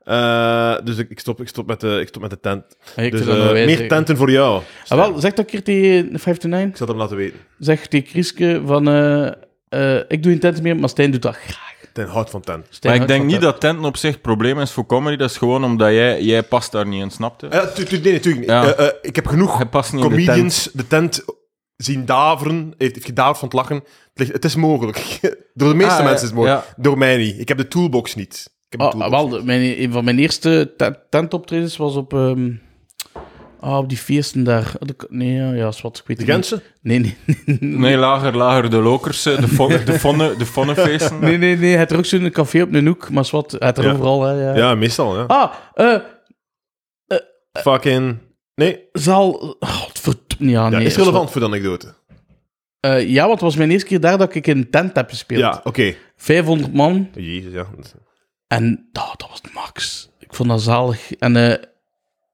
Eh, dus ik, ik, stop, ik, stop met de, ik stop met de tent. Ah, ik Dus wil dat eh, nog wijzen. meer tenten voor jou. Ah, wel, zeg dat een keer tegen 59. Ik zal het hem laten weten. Zeg tegen Krieske van... eh, eh, ik doe geen tent meer, maar Stijn doet dat graag. Ten houdt van tent. Stijn Maar houdt ik denk van niet tent. dat tenten op zich het probleem is voor comedy. Dat is gewoon omdat jij, jij past daar niet in, snapte? Ja, Eh, tu- tu- nee, natuurlijk niet. Ja. Eh, eh, ik heb genoeg Hij past niet in de tent. comedians de tent. zien daveren, heeft, heeft gedaverd van het lachen. Het, ligt- het is mogelijk. Door de meeste Ah, ja, mensen is het mogelijk. ja. Door mij niet. Ik heb de toolbox niet. Ik heb de Ah, toolbox wel, mijn, een van mijn eerste te- tentoptredens was op... ehm, Ah, op die feesten daar. Ah, de- Nee, ja, ja is wat. Ik weet De het niet. Gensen? Nee, nee, Nee, lager, lager de lokers, eh, de, fon, de, fonne, de fonnenfeesten. nee, nee. nee. Hij had er ook zo'n café op een hoek, maar is wat. Hij had er Ja. overal, hè. Ja. Ja, meestal, ja. Ah, eh, Fucking... Nee, zaal... Godverd... Ja, Oh, ja, nee. is relevant voor de anekdote. Eh, ja, want het was mijn eerste keer daar dat ik in een tent heb gespeeld. Ja, oké. 500 man. Jezus, ja. En ah, dat was het max. Ik vond dat zalig. En eh,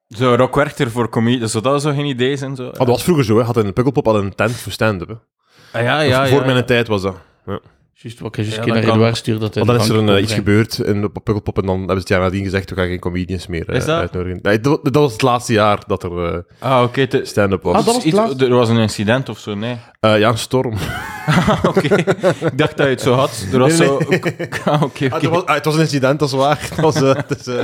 Zo, Rock Werchter voor comedy, zou dat zo geen idee zijn? Zo? Ah, dat was vroeger zo, hè. Had in Pukkelpop had een tent voor stand-up, hè. Ah, ja, ja, voor ja. mijn tijd was dat. Ja. juist wat ik juist Ja, keer dat naar kan. Edouard stuurde. Dat hij Want dan is er een, Frankrijk eh, iets opbrengt. gebeurd in op Pukkelpop en dan hebben ze het jaar nadien gezegd, we gaan geen comedians meer eh, Is dat? uitnodigen. Nee, dat, dat was het laatste jaar dat er eh, Ah, oké. te- stand-up was. Ah, dat was het iets- laatste. er was een incident of zo, nee. Eh, ja, een storm. Oké, ik dacht dat je het zo had. Er was Nee, zo... Ah, oké, Ah, oké. het, was, ah, het was een incident, dat is waar. Het was, eh, het is, eh.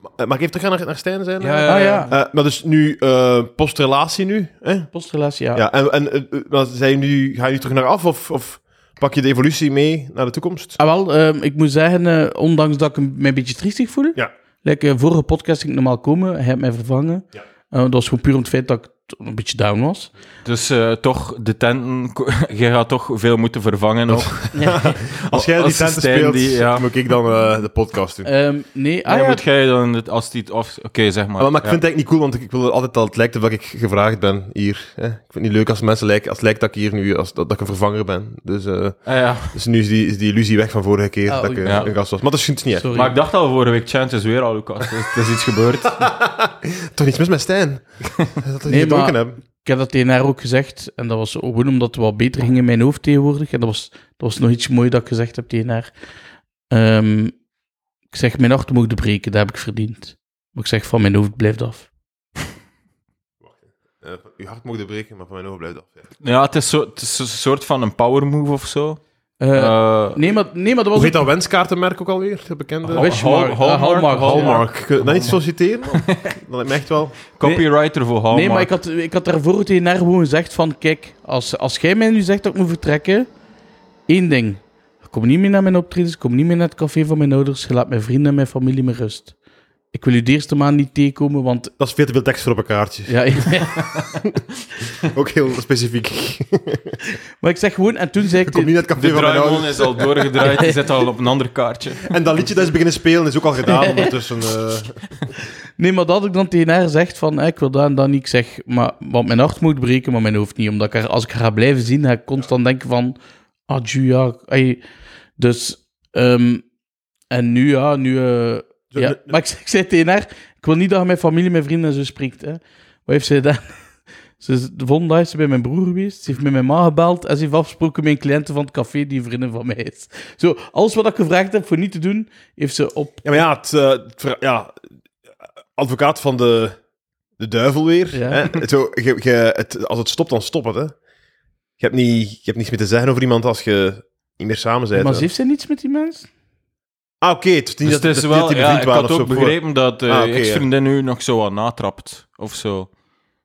Ma- eh, Mag ik even terug gaan naar, naar Stijn zijn? Ja, Ah ja, Eh, maar dus nu, eh, postrelatie nu, hè? postrelatie, ja. Ja, en, en eh, eh, maar zijn nu, ga je nu terug naar af of, of pak je de evolutie mee naar de toekomst? Ah, wel, ehm, ik moet zeggen, eh, ondanks dat ik me een beetje triestig voel, Ja. like, eh, vorige podcast ging ik normaal komen, hij heeft mij vervangen. Ja. Eh, dat was gewoon puur om het feit dat ik t- een beetje down was. Dus eh, toch, de tenten... ko- Jij gaat toch veel moeten vervangen ook. Als jij die als tenten Stijn speelt, die- ja. moet ik dan eh, de podcast doen. Ehm, nee, ah, En ja, moet jij dan... het- Als die het af... Oké, zeg maar. Maar, Ah, maar ik Ja. vind het eigenlijk niet cool, want ik, ik wil altijd dat het lijkt of dat ik gevraagd ben hier. Hè? Ik vind het niet leuk als mensen lijken, als het lijkt dat ik hier nu, als, dat, dat ik een vervanger ben. Dus, eh, Ah, ja. dus nu is die, is die illusie weg van vorige keer Ah, dat ik eh, ja. een gast was. Maar dat is het niet echt. sorry. Maar ik dacht al vorige week, Chant is weer al Lucas. Er is, er is iets gebeurd. Toch niets mis met Stijn? dat we Nee, nee, maar... maar- hebben. Ik heb dat tegen haar ook gezegd. En dat was gewoon omdat het wat beter ging in mijn hoofd tegenwoordig. En dat was, dat was nog iets moois dat ik gezegd heb tegen haar. Ehm, ik zeg, mijn hart mogen breken, dat heb ik verdiend. Maar ik zeg, van mijn hoofd blijft af. Eh, uw hart mocht breken, maar van mijn ogen blijft af. Ja. Ja, het is, zo, het is een soort van een power move of zo. Eh, Eh, nee, maar, nee, maar dat Hoe was heet dat wenskaartenmerk ook alweer? Dat bekende? Hal- Wishmark, Hal- eh, Hallmark, Hallmark. Kun je dat niet zo citeren? Dan heb je echt wel... Copywriter voor Hallmark. Nee, maar ik had, ik had daarvoor tegen haar gewoon gezegd van... Kijk, als, als jij mij nu zegt dat ik moet vertrekken... één ding. Ik kom niet meer naar mijn optredens. Ik kom niet meer naar het café van mijn ouders. Je laat mijn vrienden en mijn familie met rust. Ik wil u de eerste maand niet tegenkomen, want... Dat is veel te veel tekst voor op een kaartje. Ja, Ook heel specifiek. ik maar ik zeg gewoon... En toen zei ik... kom niet naar het café De van mijn draaimon ouders. is al doorgedraaid. Die zit al op een ander kaartje. En dat liedje dat is beginnen spelen is ook al gedaan ondertussen. eh. Nee, maar dat ik dan tegen haar zeg van... eh, ik wil dat en dat niet. Ik zeg... Maar, want mijn hart moet breken, maar mijn hoofd niet. Omdat ik haar, als ik haar ga blijven zien, ga ik constant denken van... Adieu, ja. ai. Dus... ehm, en nu, ja, nu... eh, Zo, ja, de- maar ik, zei- ik zei tegen haar, ik wil niet dat je mijn familie, mijn vrienden en zo spreekt. Hè. Wat heeft zij gedaan? Ze is, de volgende dag is ze bij mijn broer geweest, ze heeft met mijn ma gebeld en ze heeft afgesproken met een cliënte van het café die een vriendin van mij is. Zo, alles wat ik gevraagd heb voor niet te doen, heeft ze op... Ja, maar ja, het, eh, het ver- ja, advocaat van de, de duivel weer. Ja. Hè? Het Zo, je, je- het, als het stopt, dan stopt het. Hè? Je, hebt niet, je hebt niets meer te zeggen over iemand als je niet meer samen bent. Maar hè. ze heeft ze niets met die mensen? Ah, oké. het is niet Dus dat het is dat- wel, dat die ja, bevriend ik waren had of ook zo, voor- begrepen dat de Ah, oké, ex-vriendin nu nog zo wat natrapt. Of zo.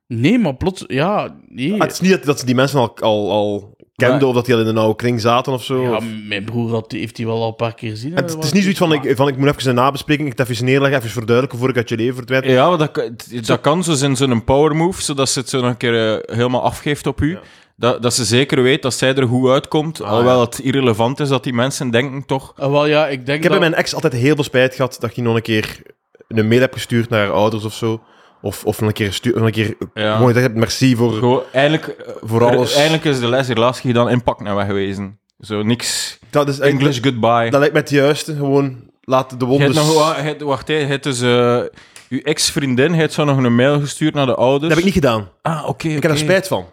Nee, maar plots... Ja, nee. Ah, het is niet dat, dat ze die mensen al, al, al kenden Maar- of dat die al in een nauwe kring zaten of zo. Ja, Of- mijn broer had, heeft die wel al een paar keer gezien. het, het is niet zoiets van ik, van, ik moet even een nabespreking, ik het even neerleggen, even verduidelijken voor ik uit je leven verdwijn. Ja, maar dat, kan- dat kan zo zijn, zo'n power move, zodat ze het zo nog een keer eh, helemaal afgeeft op u. Ja. Dat, dat ze zeker weet dat zij er goed uitkomt. Ah, alhoewel ja. het irrelevant is dat die mensen denken toch. Ah, wel, ja, ik denk Ik heb bij dat... mijn ex altijd heel veel spijt gehad dat ik niet nog een keer een mail heb gestuurd naar haar ouders of zo. Of, of nog een keer, gestu- nog een keer Ja. mooi dat je merci voor... Gewoon, eigenlijk, eh, Voor alles. er- Eigenlijk is de les relatie gedaan in pak naar wegwezen. Zo niks. Dat is eigenlijk- English goodbye. Dat lijkt me het juiste. Gewoon laat de Je hebt wonders... nog, wa- je hebt- wacht, hè, je hebt dus, eh, uw ex-vriendin heeft zo nog een mail gestuurd naar de ouders. Dat heb ik niet gedaan. Ah, oké. Eh, Ik heb daar spijt van.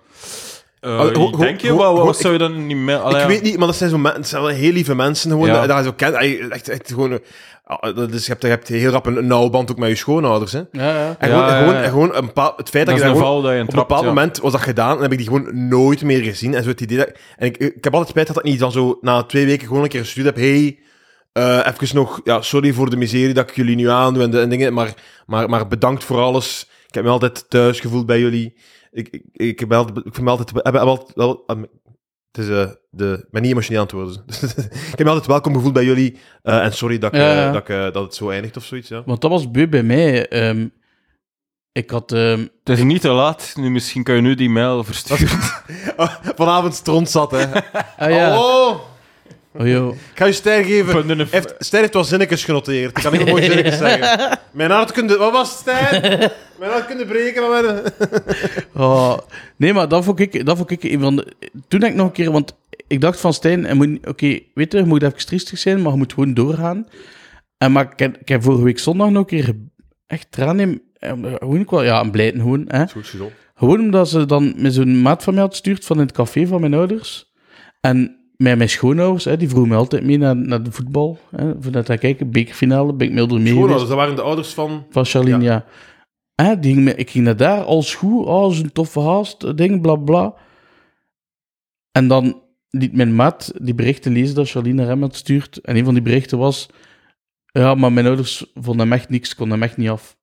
ho- ho- denk je? ho- Wat, ho- wat ik- zou je dan niet mail... ik weet niet, maar dat zijn zo mensen, dat zijn wel heel lieve mensen gewoon. Ja. Dat, dat je zo kent. Echt, echt, gewoon... eh, ah, dat is- je, hebt, je hebt heel rap een, een nauwe band ook met je schoonouders. Hè. Ja, ja. En gewoon, Ja, ja, ja. Gewoon, en gewoon een bepaal- het feit dat, Dat is je een daar gewoon, val dat je op een intrapt, bepaald ja. moment was dat gedaan en heb ik die gewoon nooit meer gezien. En zo het idee dat, en ik, ik heb altijd spijt dat ik niet dan zo na twee weken gewoon een keer gestuurd heb. Hey, eh even nog, ja, sorry voor de miserie dat ik jullie nu aandoe en, de, en dingen, maar, maar, maar bedankt voor alles. Ik heb me altijd thuis gevoeld bij jullie. Ik, ik, ik, heb me altijd, ik vind me altijd, heb, heb, altijd wel- ehm, Het is eh, de manier emotioneel aan het worden. dus ik heb me altijd welkom gevoeld bij jullie. eh, en sorry dat, ik, Ja, eh, ja. dat, ik, eh, dat het zo eindigt of zoiets. Ja. Want dat was beu bij mij. ehm, ik had... ehm, Het is niet te laat. Nu, misschien kan je nu die mail versturen. Vanavond stront zat, hè. ah ja, oh, Oh, joh. ik ga je ster geven. Punten of- Heeft, Stijn heeft wel zinnetjes genoteerd. Ik kan niet mooi zinnetjes zeggen. Mijn hart kunde... Wat was het, Stijn? Mijn hart kunde breken. Maar mijn... Oh, nee, maar dat vond ik, dat vond ik een van de... Toen heb ik nog een keer... Want ik dacht van Stijn, en moet- oké, weet je, je moet even triestig zijn, maar je moet gewoon doorgaan. En maar ik heb, ik heb vorige week zondag nog een keer echt tranen in... en Gewoon ook wel, ja, een blijten gewoon, hè. Zo is het gezond. Gewoon omdat ze dan met zo'n maat van mij had gestuurd van in het café van mijn ouders. En met mijn schoonouders, hè, die vroegen me altijd mee naar, naar de voetbal. Hè, voor naar te kijken, bekerfinale, ben ik mee door mee geweest. Schoonouders, dat dus waren de ouders van... Van Charlene, Ja. ja. Hè, die ging me- ik ging naar daar, als goed, oh, zo'n toffe haast, eh, ding, bla bla. En dan liet mijn maat die berichten lezen dat Charlene naar hem had stuurt. En een van die berichten was, ja, maar mijn ouders vonden hem echt niks, konden hem echt niet af.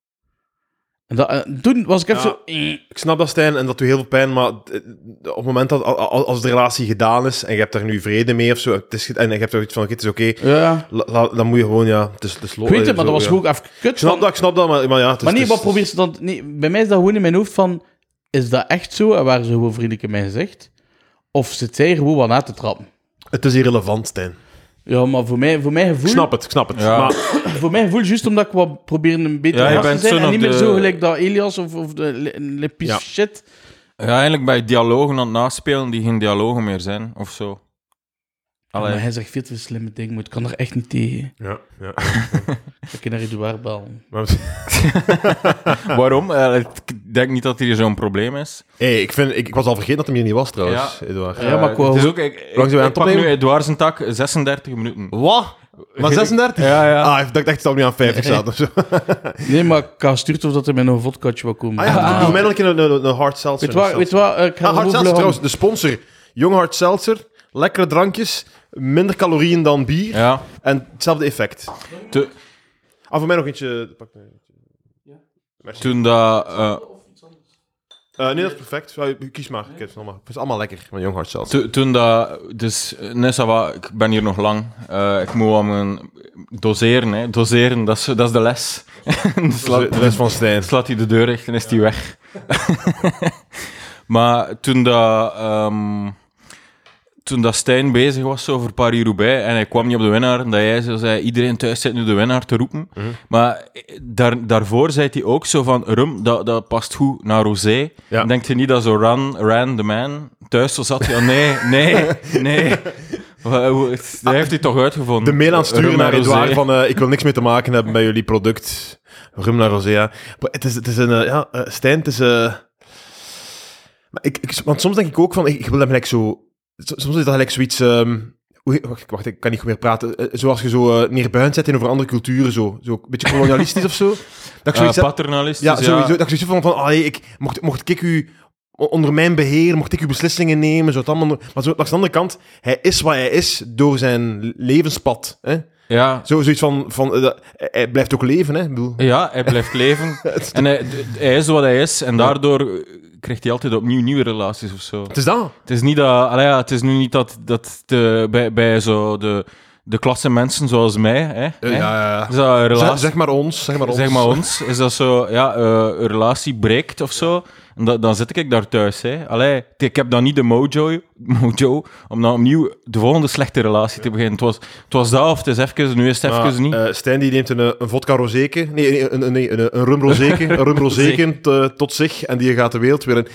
En dat, eh, toen was ik even Ja. zo... eh, Ik snap dat, Stijn, en dat doet heel veel pijn, maar d- d- op het moment dat al- al- als de relatie gedaan is en je hebt daar nu vrede mee of zo, het is, ge- en je hebt er iets van, oké, het is oké, Ja, la- la- dan moet je gewoon, ja, het is, het is lo- ik weet het, maar Oh, eh, zo, dat ja. was gewoon even kut. Ik snap van- dat, ik snap dat, maar, maar ja... Het is, maar nee, het is- dus- wat probeert ze dan... Nee, bij mij is dat gewoon in mijn hoofd van... Is dat echt zo? En waar ze gewoon vriendelijke mij zegt? Of zit zij er gewoon wat na te trappen? Het is irrelevant, Stijn. Ja, maar voor, mij, voor mijn Ik gevoel... snap het, ik snap het. Ja. Maar Voor mijn gevoel, juist omdat ik wat probeer een beter Ja, je gast te bent zijn. zo'n En op niet meer de- zo gelijk dat Elias of, of de le, le piece Ja. shit. ja, eigenlijk bij dialogen aan het naspelen die geen dialogen meer zijn, of zo. Maar Allee. hij zegt veel te slimme dingen, maar ik kan er echt niet tegen. ja, ja. Ik kan naar Edouard bellen. Maar, Waarom? Eh, ik denk niet dat hier zo'n probleem is. hey, ik, vind, ik, ik was al vergeten dat hem hier niet was, trouwens, Eduard. Ja, maar Eh, qua- het is ook, ik, ik, zijn we aan ik het pak opnemen? nu Edouard zijn tak 36 minuten. Wat? Maar 36? Ja, ja. Ah, ik dacht echt dat we nu aan 50 zaten of zo. Nee, maar ik ga stuurt of dat hij met een vodkaatje wil komen. Ah Ah, ja, doe mij nog een keer een, een, een hard seltzer. weet je wat, weet je wat, eh, ik ga Ah, er hard overleggen. seltzer trouwens, de sponsor. Jong hard seltzer, lekkere drankjes, minder calorieën dan bier. Ja. En hetzelfde effect. Te- Ah, voor mij nog eentje. Pak mij. Toen dat... eh, Eh, nee, dat is perfect. Ja, Kies maar. Kijk, het is allemaal- het is allemaal lekker. Mijn jong hard seltzer. To- toen dat, dus eh, net zo wat, ik ben hier nog lang. Eh, ik moet wel mijn doseren, hè. doseren, dat is, dat is de les. De rest van Stijn. Slaat hij de deur dicht en is hij weg. maar toen dat, ehm, toen dat Stijn bezig was over Paris-Roubaix en hij kwam niet op de winnaar, dat jij zo zei, iedereen thuis zit nu de winnaar te roepen. Mhm. Maar eh, daar, daarvoor zei hij ook zo van, rum, dat, dat past goed naar Rosé. Ja. Denkt je niet dat zo Ran, Ran, the man, thuis zo zat? Ja, nee, nee, nee. Wa- hoe- Dat heeft hij toch uitgevonden. Ah, De mail aan het sturen eh, Rum en naar Edouard Rosé. van... eh, ik wil niks meer te maken hebben bij jullie product. Rum naar Rosé, ja. Maar het is, het is een... eh, ja, eh, Stijn, het is... eh, maar ik, ik, want soms denk ik ook van... Ik, ik wil hem gelijk zo... s- Soms is dat gelijk zoiets... ehm, hoe- Wacht, wacht, ik kan niet goed meer praten. Eh, Zoals je zo eh, neerbuigend zet in over andere culturen, zo. Zo een beetje kolonialistisch of zo. Dat ik Eh, zoiets heb- paternalistisch, Dus Ja, sowieso. Dat ik zoiets van, van allee, ik, mocht, mocht ik u o- onder mijn beheer, mocht ik uw beslissingen nemen, zou het allemaal... onder- Maar zo, langs de andere kant, hij is wat hij is door zijn levenspad. Hè? ja. Zo, zoiets van, van eh, dat- hij- hij blijft ook leven, hè? Ik bedoel, Ja, hij blijft leven. en hij, d- hij is wat hij is. En daardoor eh, krijgt hij altijd opnieuw nieuwe relaties of zo. het is dat. Het is, niet dat, allee, ja, het is nu niet dat, dat de, bij, bij zo de, de klasse mensen zoals mij... Hè, hè, Eh, ja. Is dat een Zeg, relatie... zeg maar ons, zeg maar ons. Zeg maar ons, is dat zo, ja, eh, een relatie breekt of zo, en da- dan zit ik daar thuis. Hè. Allee, t- ik heb dan niet de mojo, mojo om dan opnieuw de volgende slechte relatie te beginnen. Het was, het was dat of het is even, nu is het Maar, even niet. eh, Stijn die neemt een, eh, een vodka rozeke, nee, nee, een, een, nee, een, een rum rozeke, een rum rozeke te- tot zich en die gaat de wereld weer in.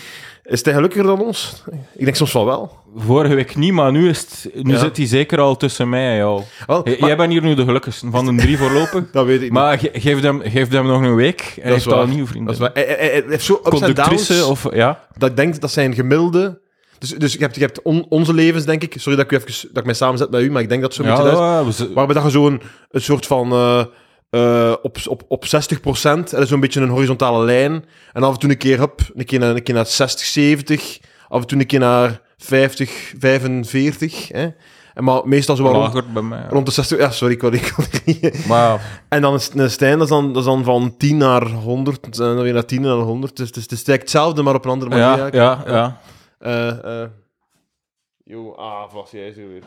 Is hij gelukkiger dan ons? Ik denk soms van wel. Vorige week niet, maar nu, is het, nu Ja. zit hij zeker al tussen mij en jou. Wel, J- maar- Jij bent hier nu de gelukkigste van de drie voorlopig. dat weet ik niet. Maar ge- geef hem, geef hem nog een week en hij is heeft al waar. een nieuwe vrienden. Dat is waar. Hij- hij- hij- hij heeft zo ups en downs. Conductrice of... Ja. dat ik denk dat zijn gemiddelde. Dus, dus je hebt, je hebt on- onze levens, denk ik. Sorry dat ik, u even, dat ik mij samenzet met u, maar ik denk dat zo'n Ja, beetje. Dat, ja, we z- waarbij dat je zo'n een soort van. eh, eh, op, op, op 60 procent. Dat is zo'n beetje een horizontale lijn. En af en toe een keer up, een keer naar, een keer naar 60, 70. Af en toe een keer naar 50, 45. Hè? En maar meestal zo wel rond, lager bij mij. ja. rond de 60. Ja, sorry, ik wil ik wil er niet. Maar En dan is een Stijn, dat is dan, dat is dan van 10 naar 100. En dan weer naar 10 naar 100. Dus, het is het is eigenlijk hetzelfde, maar op een andere manier. ja, ja, ja. Eh, eh. Yo, ah, vast, jij is er weer.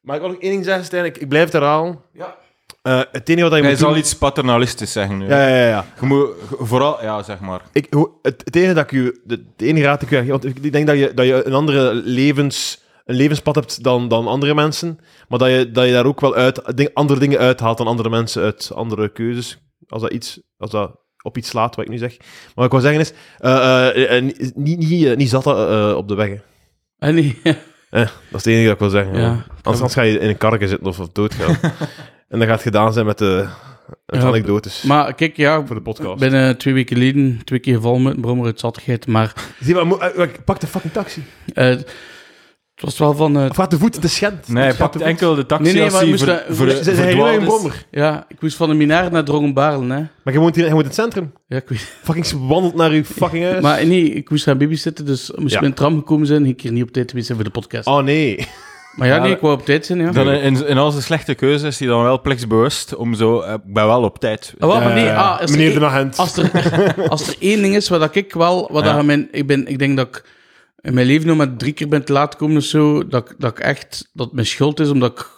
Maar ik wil nog één ding zeggen, Stijn. Ik, ik blijf het herhalen. Ja. Eh, het enige wat je Hij moet doen... zal iets paternalistisch zeggen nu. Ja, ja, ja. ja. Je moet ge- vooral, ja, zeg maar. Ik, hoe- het, het enige dat ik u... De, de enige raad die ik u... Want ik denk dat je, dat je een andere levens... Een levenspad hebt dan, dan andere mensen. Maar dat je, dat je daar ook wel uit, ding, andere dingen uithaalt dan andere mensen uit andere keuzes. Als dat, iets, als dat op iets slaat, wat ik nu zeg. Maar wat ik wil zeggen is... eh, eh, eh, niet, niet, niet, eh, niet zat eh, eh, op de weg, hè. Ah, nee. Eh, dat is het enige dat ik wil zeggen. Ja. ja. Anders, anders ga je in een karke zitten of, of doodgaan. en dan gaat het gedaan zijn met de met Ja, anekdotes Maar kijk, ja, voor de podcast. binnen twee weken geleden twee keer gevallen met een brommer uit zattigheid. Maar Zie maar, mo- eh, eh, pak de fucking taxi. eh, het was wel van... eh, Of laat de voet, de schend. Nee, hij pakt enkel de taxi Nee, nee, als maar hij je moest ver- dat- ver- moest- Ze zijn verdwaald helemaal een is. bomber. ja, ik moest van de Minaar naar Drongenbarelen, hè. Maar je woont, hier, je woont in het centrum. Ja, ik weet Fucking ze wandelt naar uw fucking huis. Maar nee, ik moest gaan babysitten, dus moest Ja. ik met een tram gekomen zijn. Ik hier niet op tijd geweest zijn voor de podcast. Oh nee. Maar ja, Ja, nee, ik wou op tijd zijn, ja. Dan in- in, in al zijn slechte keuzes is hij dan wel plichtsbewust om zo... eh, Ik ben wel op tijd. Ah, wel, maar nee, ah, als er Meneer één- de agent. Als er, als er één ding is wat dat ik wel, wat Ja. dat in mijn, ik, ben, ik denk dat ik in mijn leven nog maar drie keer ben te laat gekomen of zo, dat, ik- dat ik echt, dat het mijn schuld is omdat ik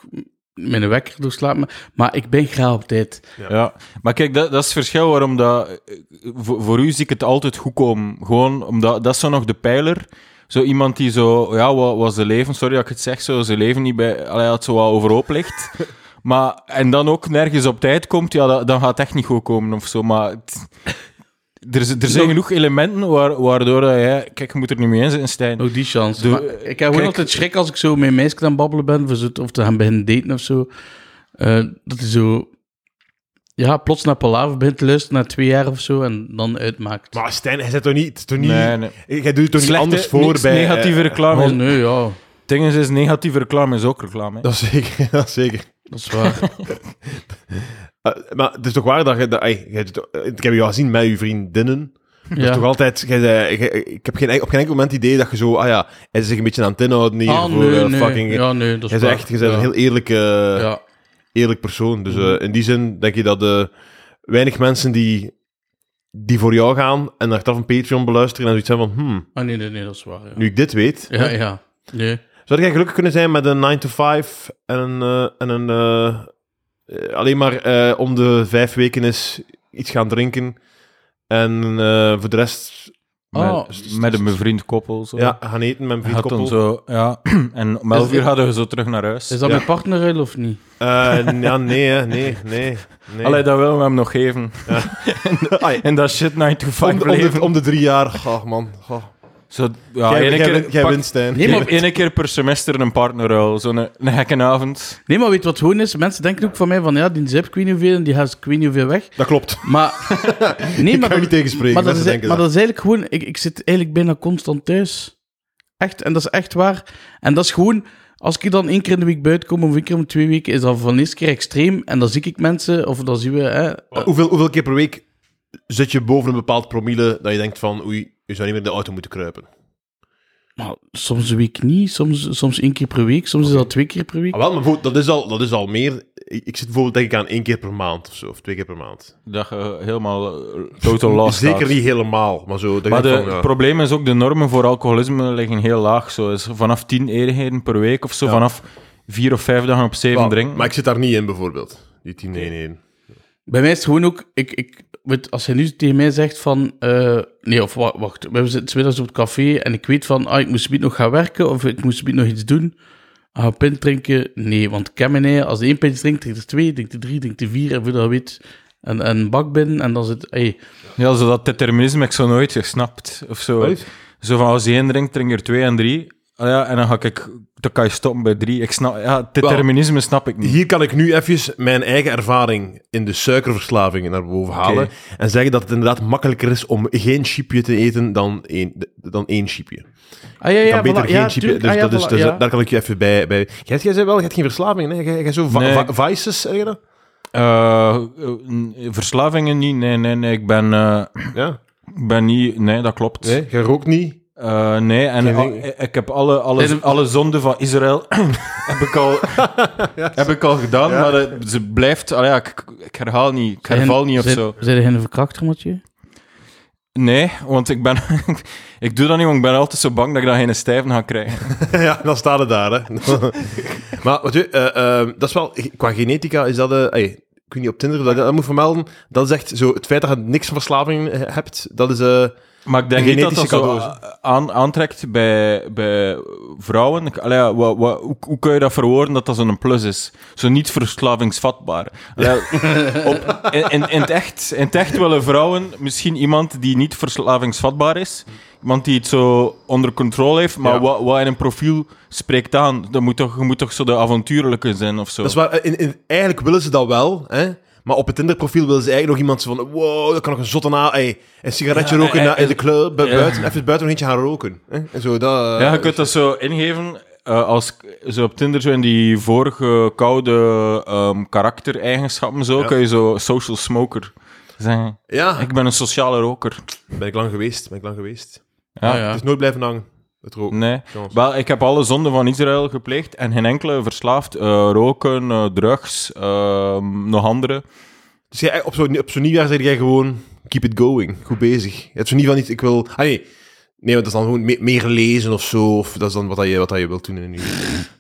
mijn wekker doorslaat. Maar, maar ik ben graag op tijd. Ja, maar kijk, dat, dat is het verschil waarom dat... eh, Voor, voor u zie ik het altijd goed komen. Gewoon omdat... Dat is zo nog de pijler. Zo iemand die zo... Ja, wat was zijn leven? Sorry dat ik het zeg. Zo, zijn leven niet bij... Allee, had zo wat overhoop ligt. Maar... En dan ook nergens op tijd komt. Ja, dat- dan gaat het echt niet goed komen of zo. Maar... het- er, is- er zijn Nog- genoeg elementen waar, waardoor dat jij... Kijk, je moet er nu mee in zijn, Stijn. Ook die chance. De- Maar ik heb gewoon kijk- altijd schrik als ik zo met een meisje aan het babbelen ben, voor zo- of te gaan beginnen daten of zo. Eh, dat is zo... Ja, plots naar Palaver begint te luisteren na twee jaar of zo en dan uitmaakt. Maar Stijn, hij zit toch niet... Toch niet Nee, nee. Jij doet het toch niet Slechte- anders voor niks bij... eh, negatieve reclame. oh is- nee, ja, Dingen is negatieve reclame is ook reclame. hè. Dat is zeker, dat is zeker. dat is waar. Eh, maar het is toch waar dat je... Dat, ey, jij doet toch- eh, ik heb je al gezien met je vriendinnen. ja. Toch altijd... jij zei- jij- ik heb geen, enkel- op geen enkel moment het idee dat je zo... Ah ja, hij is zich een beetje aan het inhouden hier. Ah, voor, nee, eh, nee. fucking, ja, nee, dat Jij bent is waar. echt je bent ja. een heel eerlijke, Ja. Mhm. eerlijk persoon. Dus eh, in die zin denk je dat eh, weinig mensen die, die voor jou gaan en achteraf een Patreon beluisteren en zoiets hebben van, hmm, Ah, nee, nee, nee, dat is waar. Ja, nu ik dit weet, ja. ja. Nee. zou jij gelukkig kunnen zijn met een 9 to 5 en een, eh, en een eh, eh, alleen maar eh, om de vijf weken eens iets gaan drinken en eh, voor de rest Met, Oh. met een bevriend koppel. Zo. ja, gaan eten met een Had dan vriendkoppel. zo, ja. En om 11 uur hadden we zo terug naar huis. Is dat Ja. mijn partner of niet? Eh, ja, nee, hè, nee, nee. nee. Allee, dat willen we hem nog geven. Ai, En dat shit 9 to 5 om, de, om, leven. de, om de drie jaar. Ach man. Goh. Zo, ja, jij ene jij, keer, win- jij pak- wint, Stijn. Nee maar, één keer per semester een partnerruil. Zo'n eh, een gekke avond. nee, maar weet je wat gewoon is? Mensen denken ook van mij van, ja, die zip, ik weet niet hoeveel, en die gaat ik weet niet hoeveel weg. Dat klopt. Maar... Nee, maar... kan je niet tegenspreken, Maar dat, mensen is, denken maar dat. dat is eigenlijk gewoon... Ik, ik zit eigenlijk bijna constant thuis. Echt, en dat is echt waar. En dat is gewoon... Als ik dan één keer in de week buiten kom, of één keer om twee weken, is dat van de eerste keer extreem. En dan zie ik mensen, of dan zien we... Hè, Maar hoeveel, hoeveel keer per week zit je boven een bepaald promille dat je denkt van, oei, je zou niet meer in de auto moeten kruipen? maar soms een week niet, soms, soms één keer per week, soms is dat twee keer per week. Ah, wel, maar goed, dat is al, dat is al meer. Ik, ik zit bijvoorbeeld denk ik aan één keer per maand of zo, of twee keer per maand. Dat je helemaal eh, total lost Zeker gaat. niet helemaal, maar zo. Dat je Maar de- denkt het van, ja. probleem is ook, de normen voor alcoholisme liggen heel laag. Zo is vanaf 10 eenheden per week of zo. Vanaf vier of vijf dagen op zeven Wel, drinken. Maar ik zit daar niet in bijvoorbeeld, die 10 1 1 Bij mij is het gewoon ook, ik, ik, weet, als hij nu tegen mij zegt van, eh, nee, of wa- wacht, we zitten 's middags op het café en ik weet van, ah, ik moest niet nog gaan werken of ik moest niet nog iets doen. Ah, een pint drinken? Nee, want ik ken mijn ei. Als de één pint drinkt, drinkt er twee, drinkt er drie, drinkt er vier en voordat je weet, en, en bak binnen en dan zit, hey, Ja, zo dat determinisme heb ik zo nooit gesnapt. Of zo. Zo van als je één drinkt, drink er twee en drie. Ah ja, en dan ga ik, dan kan je stoppen bij drie. Ik snap, ja, determinisme snap ik niet. Hier kan ik nu even mijn eigen ervaring in de suikerverslaving naar boven halen. Oké. En zeggen dat het inderdaad makkelijker is om geen chipje te eten dan één, dan één chipje. ah ja, ja, Ik kan beter voilà, geen ja, chip- tuurlijk, Dus, ah, ja, dat is, voilà, dus ja. daar kan ik je even bij. bij. Jij, jij zei wel, je hebt geen verslavingen. Hè? Jij, jij zo va- Nee. va- vices, zeg je dat? Eh, eh, verslavingen niet, nee, nee, nee. Ik ben, eh, Ja. ik ben niet... Nee, dat klopt. Nee, jij rookt niet. Eh, nee, en Geen al- ding. ik heb alle, alle, Zijn- alle zonden van Israël heb ik al, heb ik al gedaan, maar eh, ze blijft... ah ja, ik, ik herhaal niet, ik herval niet of Zijn- zo. Zijn er geen verkrachter, Mathieu? Nee, want ik ben... ik doe dat niet, want ik ben altijd zo bang dat ik daar geen stijven ga krijgen. ja, dan staat het daar, hè. maar wat je, eh, eh, dat is wel... Qua genetica is dat... eh, ey, ik weet niet, op Tinder, dat ik dat moet vermelden. Dat is echt zo... Het feit dat je niks van verslaving eh, hebt, dat is... eh, Maar ik denk niet dat dat Genetische zo a- aan, aantrekt bij, bij vrouwen. Ik- allee, ja, wa- wa- hoe, hoe kun je dat verwoorden dat dat zo'n plus is? Zo niet verslavingsvatbaar. Allee, op, in, in, in het echt, in het echt willen vrouwen misschien iemand die niet verslavingsvatbaar is. Iemand die het zo onder controle heeft, maar Ja. wat, wat in een profiel spreekt aan. Dat moet toch, je moet toch zo de avontuurlijke zijn of zo. dat is waar, eh, in, in- eigenlijk willen ze dat wel, hè. Maar op het Tinder-profiel willen ze eigenlijk nog iemand zo van... Wow, dat kan nog een zotte na... ey, een sigaretje Ja, roken eh, na- in eh, de club, bu- ja. buiten. Even buiten nog eentje gaan roken. Hè? En zo, dat... eh, Ja, je kunt dat zo ingeven eh, als k- zo op Tinder zo in die vorige koude ehm, karaktereigenschappen zo, Ja. kun je zo social smoker zeggen. ja. Ik ben een sociale roker. Ben ik lang geweest, ben ik lang geweest. Ja. Ah, ja. Het is nooit blijven hangen, het roken. Nee. Jongens. Wel, ik heb alle zonden van Israël gepleegd en geen enkele verslaafd. Eh, roken, eh, drugs, ehm, nog andere. Dus jij, op zo'n op zo'n nieuwjaar zeg jij gewoon, keep it going, goed bezig. Je hebt zo niet van niet, ik wil... Ah, nee. nee, want dat is dan gewoon me- meer lezen of zo, of dat is dan wat, dat je, wat dat je wilt doen in je,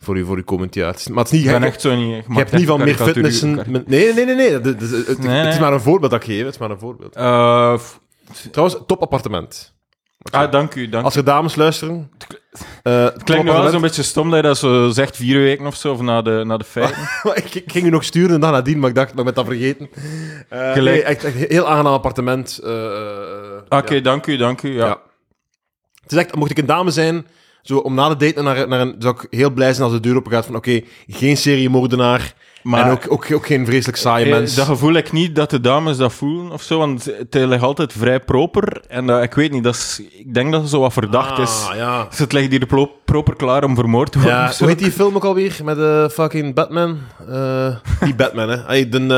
voor, je, voor je komend jaar. Het is- Maar het is niet... Ik ben je- echt zo niet... je hebt niet van meer fitnessen... met- nee, nee, nee, nee. dat- dat- dat- het, het Nee, is nee. maar een voorbeeld dat ik geef, het is maar een voorbeeld. Eh, f- Trouwens, topappartement. ah, dank u, dank u. Als er dames luisteren... eh, het Het klinkt nu wel zo'n beetje stom dat je dat zo zegt vier weken of zo, of na de, na de feiten. ik, ik ging u nog sturen en dag nadien, maar ik dacht, maar ik ben dat vergeten. Eh, Gelijk. nee, echt, echt een heel aangenaam appartement. eh, eh, Oké, ja. dank u, dank u. Ja. Ja. Het is echt, mocht ik een dame zijn, zo om na de date naar, naar een, zou ik heel blij zijn als de deur open gaat van oké, geen seriemoordenaar Maar en ook, ook, ook geen vreselijk saaie eh, mens. dat gevoel ik niet dat de dames dat voelen of zo, want het ligt altijd vrij proper. En dat, ik weet niet, dat is, ik denk dat het zo wat verdacht is. Ah, ja. Dus het ligt hier plo- proper klaar om vermoord te worden. Ja, of zo. hoe heet die film ook alweer? Met eh fucking Batman? Eh, die Batman, hè? Hey, de, ehm,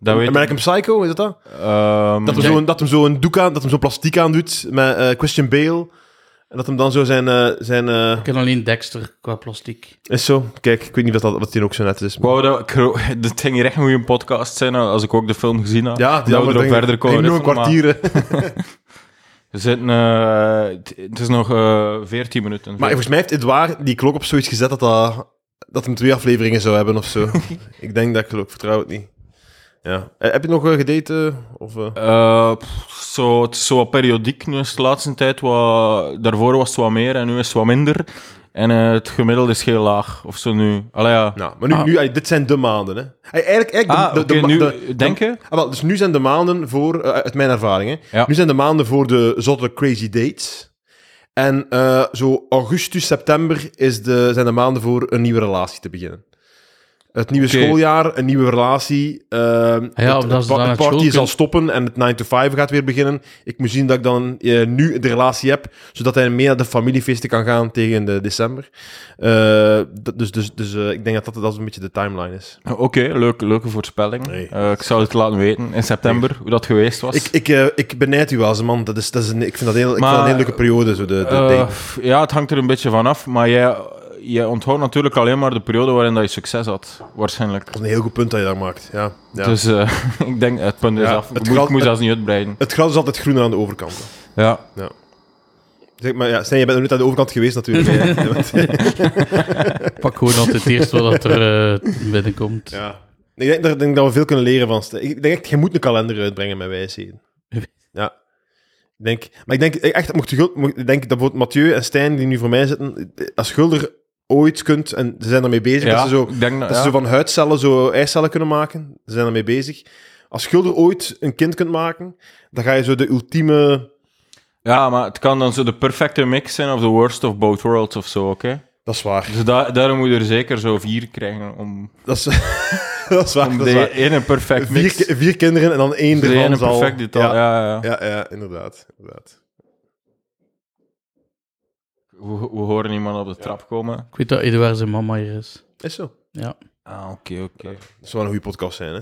Dat weet ik American Psycho, is dat dat? Ehm, Dat hem zo'n dat hem zo'n doek aan, dat hem zo'n plastiek aan doet met eh, Christian Bale. En dat hem dan zo zijn... eh, zijn eh, Ik ken alleen Dexter qua plastic. is zo. Kijk, ik weet niet wat, dat, wat die ook zo net is. ik wou dat, ik gro- dit ging hier echt een goede podcast zijn als ik ook de film gezien had. Ja, dat we erop verder komen. Nog een riffen, maar kwartier. hè. We zitten, eh, het- het is nog eh 14 minuten. Maar volgens mij heeft Edouard die klok op zoiets gezet dat, dat, dat hem twee afleveringen zou hebben of zo. ik denk dat ik geloof, ik vertrouw het niet. Ja. Eh, Heb je nog eh, gedate? eh, Of, eh? Eh, pff, zo, het is zo wat periodiek nu is de laatste tijd wat... Daarvoor was het wat meer en nu is het wat minder. En eh, het gemiddelde is heel laag, of zo nu. Allee, ja. Nou, maar nu, nu, eh, dit zijn de maanden. Hè. Eh, Eigenlijk, eigenlijk Ah, de, oké, de, ma- nu de- denk je? Ah, wel, dus nu zijn de maanden voor, eh, uit mijn ervaring, hè, Ja. nu zijn de maanden voor de zotte crazy dates. En eh, zo augustus, september is de, zijn de maanden voor een nieuwe relatie te beginnen. Het nieuwe Oké. schooljaar, een nieuwe relatie. eh, het, omdat ze het pa- dan het naar party school zal kunnen. stoppen en het 9 to 5 gaat weer beginnen. Ik moet zien dat ik dan eh, nu de relatie heb, zodat hij mee naar de familiefeesten kan gaan tegen de december. Eh, dat- dus dus, dus eh, ik denk dat dat, dat een beetje de timeline is. Oké, leuk, leuke voorspelling. Nee. Eh, ik zou het laten weten in september, hoe dat geweest was. Ik, ik, eh, ik benijd u wel als man. Dat is, dat is een, ik, vind dat heel, ik Maar- vind dat een hele leuke periode. Zo de, de Eh, dating. f- ja, het hangt er een beetje van af, maar jij, jij onthoudt natuurlijk alleen maar de periode waarin dat je succes had, waarschijnlijk. Dat is een heel goed punt dat je daar maakt. Ja, ja. Dus eh, ik denk, het punt is Ja, af. het Ik moet, geld- ik moet het- zelfs niet uitbreiden. Het gras is altijd groener aan de overkant. Ja. Zeg maar, ja, Stijn, je bent nooit aan de overkant geweest natuurlijk. Ja, want- Ik pak gewoon altijd eerst wat er eh, binnenkomt. ja. Ik denk, dat- ik denk dat we veel kunnen leren van Stijn. Ik denk echt, je moet een kalender uitbrengen met wijsheden. Ja. Ik denk, maar ik denk echt, mocht, je Gul- mocht- ik denk dat bijvoorbeeld Mathieu en Stijn, die nu voor mij zitten, als Gulder ooit kunt, en ze zijn daarmee bezig, ja, dat ze zo ik denk dat, Dat ze ja. zo van huidcellen zo eicellen kunnen maken. Ze zijn ermee bezig. Als schilder ooit een kind kunt maken, dan ga je zo de ultieme... Ja, maar het kan dan zo de perfecte mix zijn of the worst of both worlds of zo, oké? Dat is waar. Dus da- daarom moet je er zeker zo vier krijgen om, Dat is, dat is waar. om dat is de waar. ene perfect Vier, mix. ki- vier kinderen en dan één de ene ervan zal... perfect detail, ja. ja. Ja, ja. Ja, ja, inderdaad. inderdaad. We, we horen iemand op de trap komen. Ik weet dat Eduard zijn mama hier is. Is zo. Ja. Ah, oké, oké. Dat zou wel een goede podcast zijn, hè?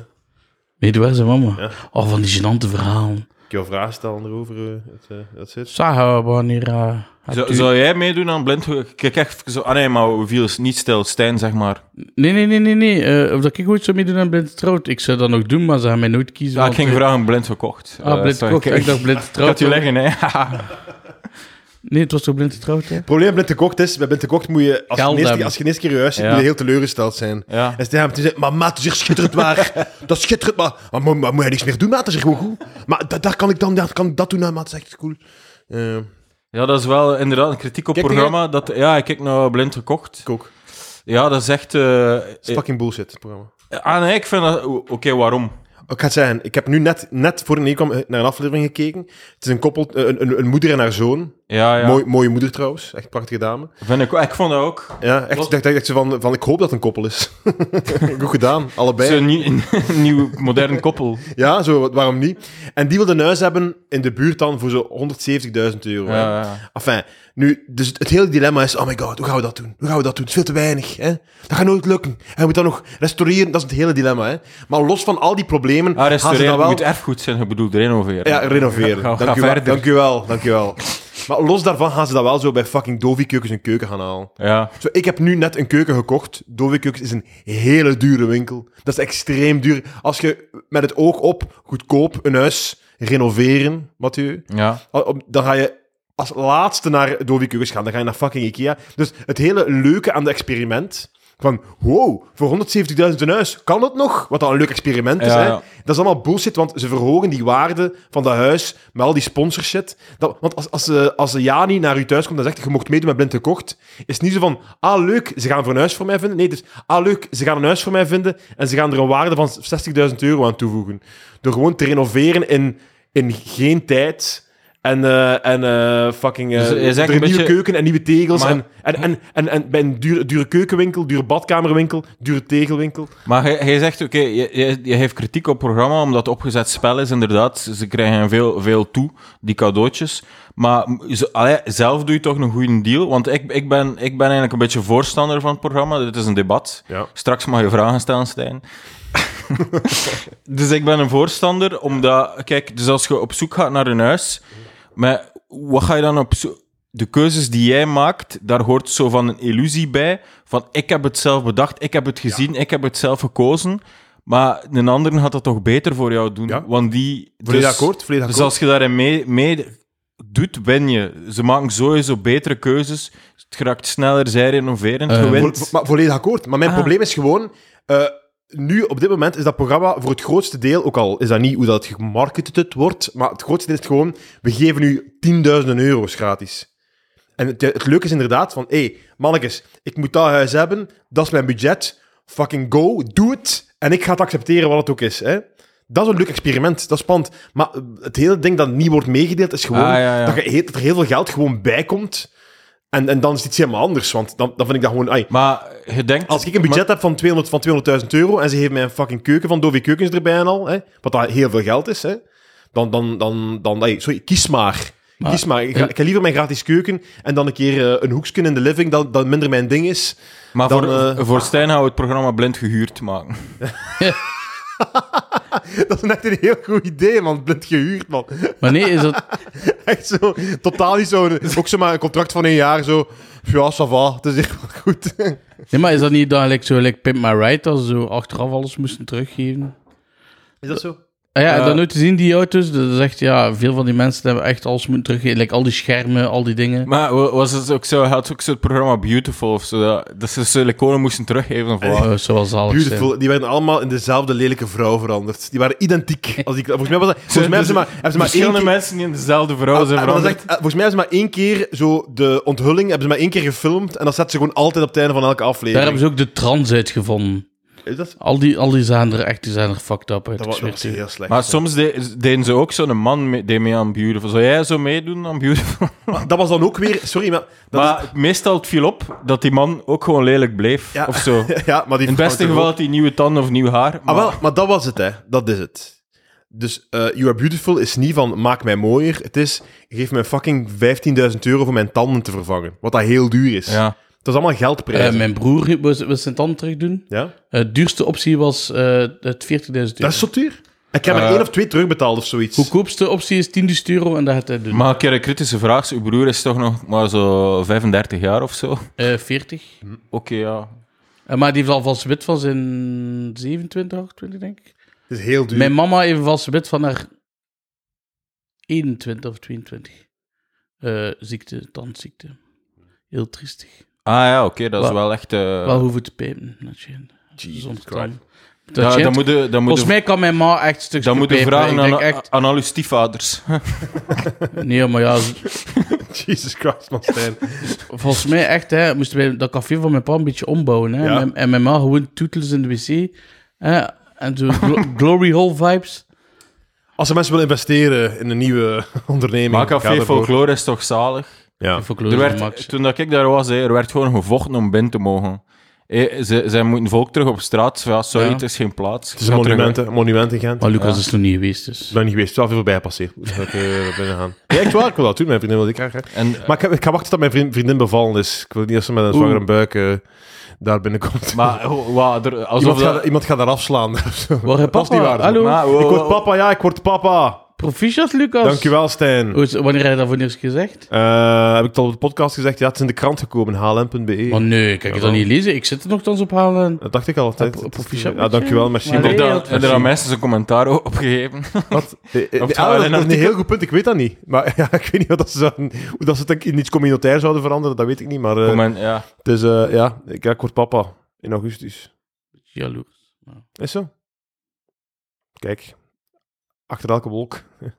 Eduard zijn mama. Ja. Oh, van die gênante verhalen. jouw vraag stellen erover eh, het, eh, het zit? Saha Banira. Zou, zou jij meedoen aan blind? Kijk echt zo. Ah nee, maar we viel niet stil. Stijn, zeg maar. Nee, nee, nee, nee. nee. Eh, of dat ik ooit zou meedoen aan Blind Trout. Ik zou dat nog doen, maar ze gaan mij nooit kiezen. Ah, ik want, ging eh, vragen, blind verkocht. Ah, Eh, Blind sorry, Trout. kijk, Ik dacht Blind Ik had Trout. je leggen, hè. Nee, het was toch Blind Trout, hè? Het probleem met te kocht is, bij Blind te kocht moet je, als je Geld de eerste- hebben. als je de eerste keer juist zit, Ja. moet je heel teleurgesteld zijn. Ja. En Stijn heeft gezegd, maar maat, het is hier schitterend waar. Dat is schitterend, maar, maar, moet- maar moet hij niks meer doen, maat? Dat is hier gewoon goed. Maar da- daar kan ik dan daar kan ik dat doen, hè, maat. Dat is echt cool. Eh, Ja, dat is wel inderdaad een kritiek op het Kijk die programma. Dat, ja, ik kijk naar blind verkocht. ik ook. Ja, dat is echt... eh, Het is fucking bullshit, het programma. eh, ah nee, ik vind dat... o- Oké, waarom? Ik ga het zeggen, ik heb nu net, net voor ik hier kwam eh, naar een aflevering gekeken. Het is een koppel, eh, een, een, een moeder en haar zoon. Ja, ja. Mooi, mooie moeder trouwens, echt prachtige dame. Vind ik, ik vond dat ook. Ja, echt, Was- ik dacht, ik dacht zo van, van, ik hoop dat het een koppel is. Goed gedaan, allebei. Zo'n nie- een nieuw, modern koppel. Ja, zo, wat- waarom niet? En die wilde een huis hebben in de buurt dan voor zo'n 170.000 euro. hè. Ja, Ah, ja. Enfin, nu, dus het, het hele dilemma is, oh my god, hoe gaan we dat doen? Hoe gaan we dat doen? Het is veel te weinig, hè? Dat gaat nooit lukken. En je moet dan nog restaureren, dat is het hele dilemma, hè? Maar los van al die problemen, Ah, gaan ze restaureren dan wel... moet erfgoed zijn, je bedoelt renoveren. Ja, renoveren. Ga- ga dank, u wel, verder. dank u wel, dank u wel. Maar los daarvan gaan ze dat wel zo bij fucking Dovi Keukens een keuken gaan halen. Ja. Zo, ik heb nu net een keuken gekocht. Dovi Keukens is een hele dure winkel. Dat is extreem duur. Als je met het oog op goedkoop een huis renoveren, Mathieu, Ja. al- Oh, om- dan ga je als laatste naar Dovi Keukens gaan. Dan ga je naar fucking Ikea. Dus het hele leuke aan het experiment... Van, wow, voor 170.000 een huis, kan dat nog? Wat dan een leuk experiment is, Ja, hè? ja. Dat is allemaal bullshit, want ze verhogen die waarde van dat huis met al die sponsorshit. Dat, want als, als, eh, als eh, Jani naar u thuis komt en zegt, je mocht meedoen met Blind Gekocht, is het niet zo van, ah leuk, ze gaan voor een huis voor mij vinden. Nee, dus, ah leuk, ze gaan een huis voor mij vinden en ze gaan er een waarde van 60.000 euro aan toevoegen. Door gewoon te renoveren in, in geen tijd... En, eh, en eh, fucking... eh, Dus je zegt er een een nieuwe beetje- keuken en nieuwe tegels. Maar- En, en, en, en, en bij een dure, dure keukenwinkel, dure badkamerwinkel, dure tegelwinkel. Maar hij- hij zegt, oké, je, je, je heeft kritiek op het programma omdat het opgezet spel is, inderdaad. Ze krijgen veel, veel toe, die cadeautjes. Maar m- ze- allee, zelf doe je toch een goede deal. Want ik, ik, ben, ik ben eigenlijk een beetje voorstander van het programma. Dit is een debat. Ja. Straks mag je vragen stellen, Stijn. dus ik ben een voorstander, omdat... Kijk, dus als je op zoek gaat naar een huis... Maar wat ga je dan op zo- De keuzes die jij maakt, daar hoort zo van een illusie bij. Van ik heb het zelf bedacht, ik heb het gezien, ik heb het zelf gekozen. Maar een ander gaat dat toch beter voor jou doen. Ja. Want die. Volledig dus- akkoord, volledig Dus akkoord. als je daarin mee, mee doet, win je. Ze maken sowieso betere keuzes. Het geraakt sneller, zij renoveren, het Eh, Vo- gewint. maar volledig akkoord. Maar mijn Ah. probleem is gewoon... eh, nu, op dit moment, is dat programma voor het grootste deel... Ook al is dat niet hoe dat gemarketed wordt, maar het grootste deel is gewoon... We geven u tienduizenden euro's gratis. En het, het leuke is inderdaad van... Hé, hey, mannetjes, ik moet dat huis hebben. Dat is mijn budget. Fucking go, doe het. En ik ga het accepteren wat het ook is, hè. Dat is een leuk experiment, dat is spannend. Maar eh, het hele ding dat niet wordt meegedeeld is gewoon Ah, ja, ja. Dat, je heel- dat er heel veel geld gewoon bij komt. En, en dan is het iets helemaal anders, want dan, dan vind ik dat gewoon... ai, Maar je denkt. als ik een budget heb van 200 van 200.000 euro en ze geven mij een fucking keuken van Dovi Keukens erbij en al, hè, wat dat heel veel geld is, hè, dan, dan, dan, dan ey, sorry, kies maar. Maar- kies maar. Ik ga, ik ga liever mijn gratis keuken en dan een keer eh, een hoekje in de living dat, dat minder mijn ding is. Maar Dan, voor, eh, voor Stijn gaan we het programma blind gehuurd maken. Dat is echt een heel goed idee, man. Blind gehuurd, man. Maar nee, is dat... Echt zo, totaal niet zo. Ook zomaar een contract van een jaar, zo. Ja, ça va, het is echt wel goed. Nee, maar is dat niet dan like, zo, like Pimp My Ride, dat ze zo achteraf alles moesten teruggeven? Is dat zo? Ah ja, en Ja. dan nooit te zien die auto's. Dat is echt, ja, veel van die mensen hebben echt alles moeten teruggeven. Like, al die schermen, al die dingen. Maar wa- was het ook zo, had ook zo het programma Beautiful of zo, dat- dat ze siliconen moesten teruggeven? Of Eh, wat? Oh, zoals zalig zijn. Beautiful. Die werden allemaal in dezelfde lelijke vrouw veranderd. Die waren identiek. Als die, volgens mij, was dat, volgens mij hebben ze maar, hebben ze maar één Dus verschillende keer- mensen die in dezelfde vrouw Ah, zijn en dat is veranderd. echt- eh, volgens mij hebben ze maar één keer zo de onthulling hebben ze maar één keer gefilmd en dat zetten ze gewoon altijd op het einde van elke Daar aflevering. hebben ze ook de trans uitgevonden. Is dat? Al die, al die zijn er echt, die zijn er fucked up uit. Dat ik was, dat zweer was het je. heel slecht. Maar soms de- deden ze ook zo'n man mee, deed mee aan Beautiful. Zou jij zo meedoen aan Beautiful? Maar dat was dan ook weer. Sorry, maar. Dat maar meestal het viel op dat die man ook gewoon lelijk bleef. Ja. Of zo. In is- ja, maar die het beste geval had hij nieuwe tanden of nieuw haar. Maar, Ah, wel, maar dat was het, hè? Dat is het. Dus eh, You Are Beautiful is niet van maak mij mooier. Het is geef mij fucking 15.000 euro voor mijn tanden te vervangen. Wat dat heel duur is. ja. Dat is allemaal Eh, geldprijs. mijn broer was, was zijn tand terug doen. ja? Eh, De duurste optie was eh het 40.000 euro. Dat is zo duur? Ik heb er Eh, één of twee terugbetaald of zoiets. Goedkoopste optie is 10 dus euro en dat gaat hij doen. Maar een keer een kritische vraag. Uw broer is toch nog maar zo 35 jaar of zo? Oké, Eh, 40. ja. Eh, maar die heeft al valse wit van zijn 27, 28, denk ik. Het is heel duur. Mijn mama heeft een valse wit van haar 21 of 22. Eh, ziekte, tandziekte. Heel triestig. Ah ja, oké, dat is Wel- wel echt... eh, Wel hoeven te pijpen, Natjen. Zonder Christ. tanden. dat, Natjen, dat moet je, dat moet Volgens je- mij kan mijn ma echt stukjes dat moet je pijpen. vragen Ik denk aan, echt, aan al uw stiefvaders. Nee, maar ja, z- Jesus Christ, man, Stijn. Volgens mij echt, hè, moesten wij dat café van mijn pa een beetje ombouwen. Hè. Ja. Mijn- en mijn ma gewoon toetels in de wc. Hè, en zo glo- glory hole vibes. Als er mensen willen investeren in een nieuwe onderneming... Maar ga café ervoor. folklore is toch zalig? Ja. Voor Er Glory Hole Max. werd, toen dat ik daar was, hè, er werd gewoon gevochten om binnen te mogen. Eh, ze, zij moeten volk terug op straat. Ja, sorry, Ja. het is geen plaats. Het is een monument, hè. Een monument in Gent. Maar Lucas Ja. is nog niet geweest, dus. Ik ben niet geweest. Het is wel veel voorbij passeerd. Moet ik eh, naar binnen gaan. Ja, echt waar. Ik wil dat doen. Mijn vriendin wil ik graag. hè. En, Maar ik, heb- ik ga wachten tot mijn vriend, vriendin bevallen is. Ik wil niet dat ze met een Oeh. zwangere buik eh, daar binnenkomt. maar ho- wa- er- alsof iemand, gaat, dat... iemand gaat daar afslaan. of zo. Waar, hè, Dat is niet papa? waar. Hallo? Maar, oh, Ik wow, word wow. papa, ja, ik word papa. Proficiat, Lucas. Dankjewel, Stijn. Oh, is- wanneer heb je dat voor het eerst gezegd? Eh, heb ik het al op de podcast gezegd? Ja, het is in de krant gekomen, hlm.be. Maar nee, ik heb het Jawel. dan niet lezen. Ik zit er nogthans op halen. E. Dat dacht ik al altijd. Ja, pro- proficiat Ja, met je. dankjewel, merci. Maar Heb nee, daar- dat- hebben er aan mensen zijn commentaar o- opgegeven? Wat? Eh, eh, Of het ah, wel dat een is een artikel- heel goed punt, ik weet dat niet. Maar ja, ik weet niet wat dat ze zouden, hoe dat ze het in iets communautair zouden veranderen, dat weet ik niet. Maar eh, Comment, ja. het is, eh, ja, ik, ja, ik word papa in augustus. Jaloers. Is zo? Kijk, achter elke wolk.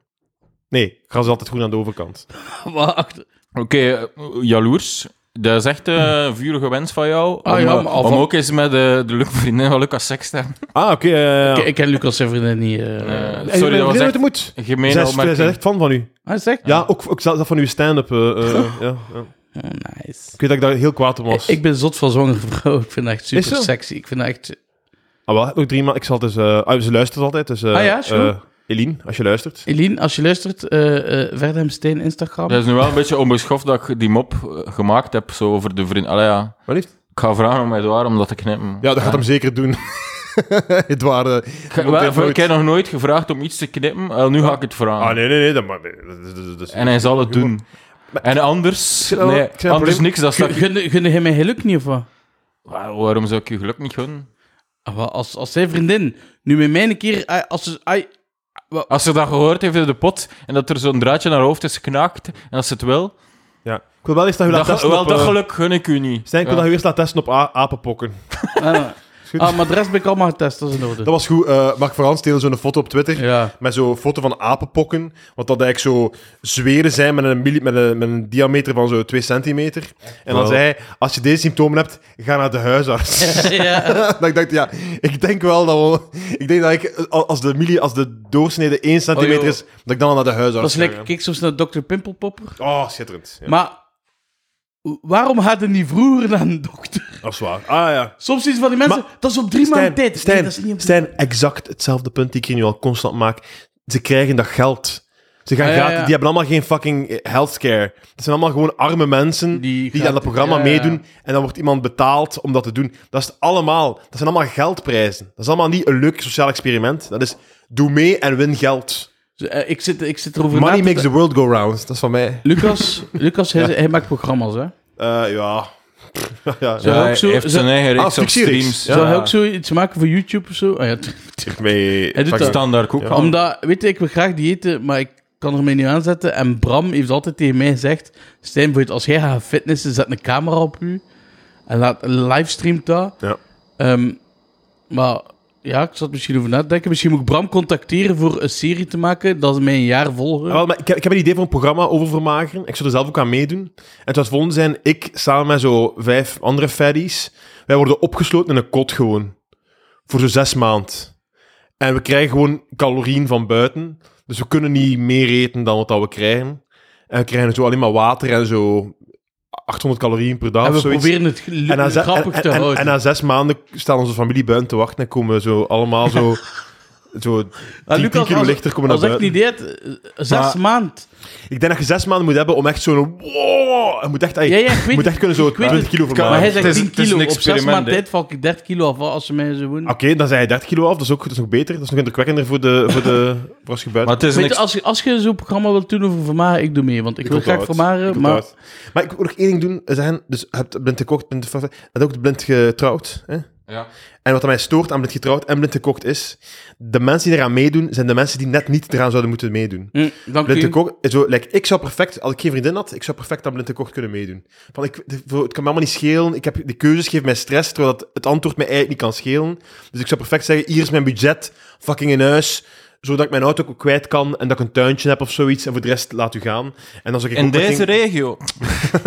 Nee, ik ga ze altijd goed aan de overkant. Wacht. Oké, eh, jaloers. Dat is echt eh, een vurige wens van jou. Ah om, ja, eh, maar al om van- ook eens met eh, de Luc vriendin van Lucas seks te hebben. Ah, oké. eh, Ik, ik ken Lucas zijn vriendin niet. eh. Ah, Eh, eh, mijn sorry, dat was vriendin echt uit de moed. gemeen Zij is, zij is opmerking. echt fan van u. Hij zegt. Ja, ook, ook zelfs dat van uw stand-up. eh, eh, ja, ja. Oh, nice. Ik weet dat ik daar heel kwaad om was. Ik ben zot van zwangere vrouwen. Ik vind dat echt Is super zo? sexy. Ik vind dat echt Ah, wel, nog drie maanden. Ik zal dus. eh, ah, ze luistert altijd. Dus, eh, Ah ja, sure. eh, Eline, als je luistert. Eline, als je luistert, eh eh Verdem Steen Instagram. Dat is nu wel een beetje onbeschoft dat ik die mop eh, gemaakt heb, zo over de vriend. Allee, ja. Wat lief. Ik ga vragen om Edouard om dat te knippen. Ja, dat gaat hem zeker doen. het waren. Ik, ga- wel, ik heb nog nooit gevraagd om iets te knippen, wel, nu ga ik het vragen. Ah, nee, nee, nee. Dat, maar, dat, dat- dat- dat- En hij zal het doen. En anders, Ik zeg wel- nee, ik zeg een anders probleem. niks, dat Gun- staat... Gun gun jij mij geluk niet of wat? Wa- Waarom zou ik je geluk niet gunnen? Ah, wel, Als, als zijn vriendin nu met mij een keer... ah, Als ze, ai, Als ze dat gehoord heeft in de pot en dat er zo'n draadje naar haar hoofd is geknaakt en als ze het wil, Ja. Ik wil wel eens dat je laat dat, ge- testen. wel, op, dat eh, geluk gun ik u niet. Stijn, ik wil Ja. dat je eerst laat testen op a- apenpokken. ah, goed. ah, maar de rest ben ik allemaal getest, dat is in orde. Dat was goed. eh Mark Frans deelde zo'n foto op Twitter. Ja. Met zo'n foto van apenpokken. Want dat eigenlijk zo zweren zijn met een, milli- met een, met een diameter van zo'n 2 centimeter. En dan Wel. zei hij: Als je deze symptomen hebt, ga naar de huisarts. ja. dat ik dacht, ja, ik denk wel dat we, Ik denk dat ik, als de, milli, als de doorsnede 1 Oh, centimeter joh. is, dat ik dan al naar de Dat huisarts is ga, lekker. Kijk soms naar Dr. Pimpelpopper. ja. Oh, schitterend. Ja, Maar waarom gaat hij niet vroeger naar een dokter? Dat is waar. Ah ja. Soms iets van die mensen... dat is op drie maanden Stijn, tijd. Nee, Stijn, dat is niet op- Stijn, exact hetzelfde punt die ik hier nu al constant maak. Ze krijgen dat geld. Ze gaan Ah, ja, gratis- ja. Die hebben allemaal geen fucking eh, healthcare. Het zijn allemaal gewoon arme mensen Die die, aan gratis- dat programma ja, ja. meedoen. En dan wordt iemand betaald om dat te doen. Dat is het allemaal. Dat zijn allemaal geldprijzen. Dat is allemaal niet een leuk sociaal experiment. Dat is doe mee en win geld. Zo, eh, ik, zit, ik zit erover na Money te- makes the world go round. Dat is van mij. Lucas, Lucas hij, hij maakt programma's, hè? Eh, ja. ja. Zo. ja. Ja, ook hij heeft zo- zijn eigen reeks Ah, op fictiereeks. streams. Ja. Zou hij ook zoiets maken voor YouTube of zo? Ah, ja, t- Mee, Hij doet fucking- Staan daar ook Ja. aan. Omdat, weet je, ik wil graag diëten, maar ik kan er mij niet aan zetten. En Bram heeft altijd tegen mij gezegd: Stijn, bijvoorbeeld, als jij gaat fitnessen, zet een camera op u en laat livestreamt dat. Ja. Ehm, maar ja, ik zat misschien over na te denken. Misschien moet ik Bram contacteren voor een serie te maken dat ze mij een jaar volgen. Ah, wel, maar ik, heb, ik heb een idee voor een programma over vermageren. Ik zou er zelf ook aan meedoen. En het zou het volgende zijn, ik samen met zo vijf andere faddies, wij worden opgesloten in een kot gewoon. Voor zo'n zes maand. En we krijgen gewoon calorieën van buiten. Dus we kunnen niet meer eten dan wat dat we krijgen. En we krijgen zo alleen maar water en zo 800 calorieën per dag en of we zoiets. proberen het gel- En na, ze- grappig en- te en- houden. en na zes maanden staat onze familie buiten te wachten en komen we zo allemaal zo Zo 10, Ah, Lucas, kilo als- lichter komen naar Als ik het buiten. idee had, eh, zes Maar- maand. Ik denk dat je zes maanden moet hebben om echt zo'n... Wow, je moet echt, ey, Ja, ja, ik je weet moet echt het. kunnen zo Ik weet 20 kilo kan- vermaken. Maar hij Het zegt is- 10 het is kilo. een Op zes experiment, maand hè. tijd val ik 30 kilo af als ze mij zo wonen. Oké, dan zijn je 30 kilo af, dat is ook, dat is nog beter. Dat is nog indrukwekkender voor, de, voor, de, voor als je buiten... Maar het is Weet een je, als, je- als je zo'n programma wilt doen over Vermaren, ik doe mee. Want ik, wil graag Vermaren, maar... Maar... maar ik wil nog één ding doen. Zeggen, dus je hebt blind gekocht, blind vervaard, je hebt ook blind getrouwd. Hè? Ja. En wat mij stoort aan blind getrouwd en blind gekocht is... De mensen die eraan meedoen, zijn de mensen die net niet eraan zouden moeten meedoen. Hm, dank Blind u. te Kocht, eh, zo, like, ik zou perfect, als ik geen vriendin had, ik zou perfect aan Blind te Kocht kunnen meedoen. Van, ik, de- voor- het kan me allemaal niet schelen, ik heb, de keuzes geven mij stress, terwijl dat, het antwoord mij eigenlijk niet kan schelen. Dus ik zou perfect zeggen, hier is mijn budget, fucking een huis, zodat ik mijn auto ook kwijt kan en dat ik een tuintje heb of zoiets, en voor de rest laat u gaan. En dan zou ik In ook meteen- deze regio.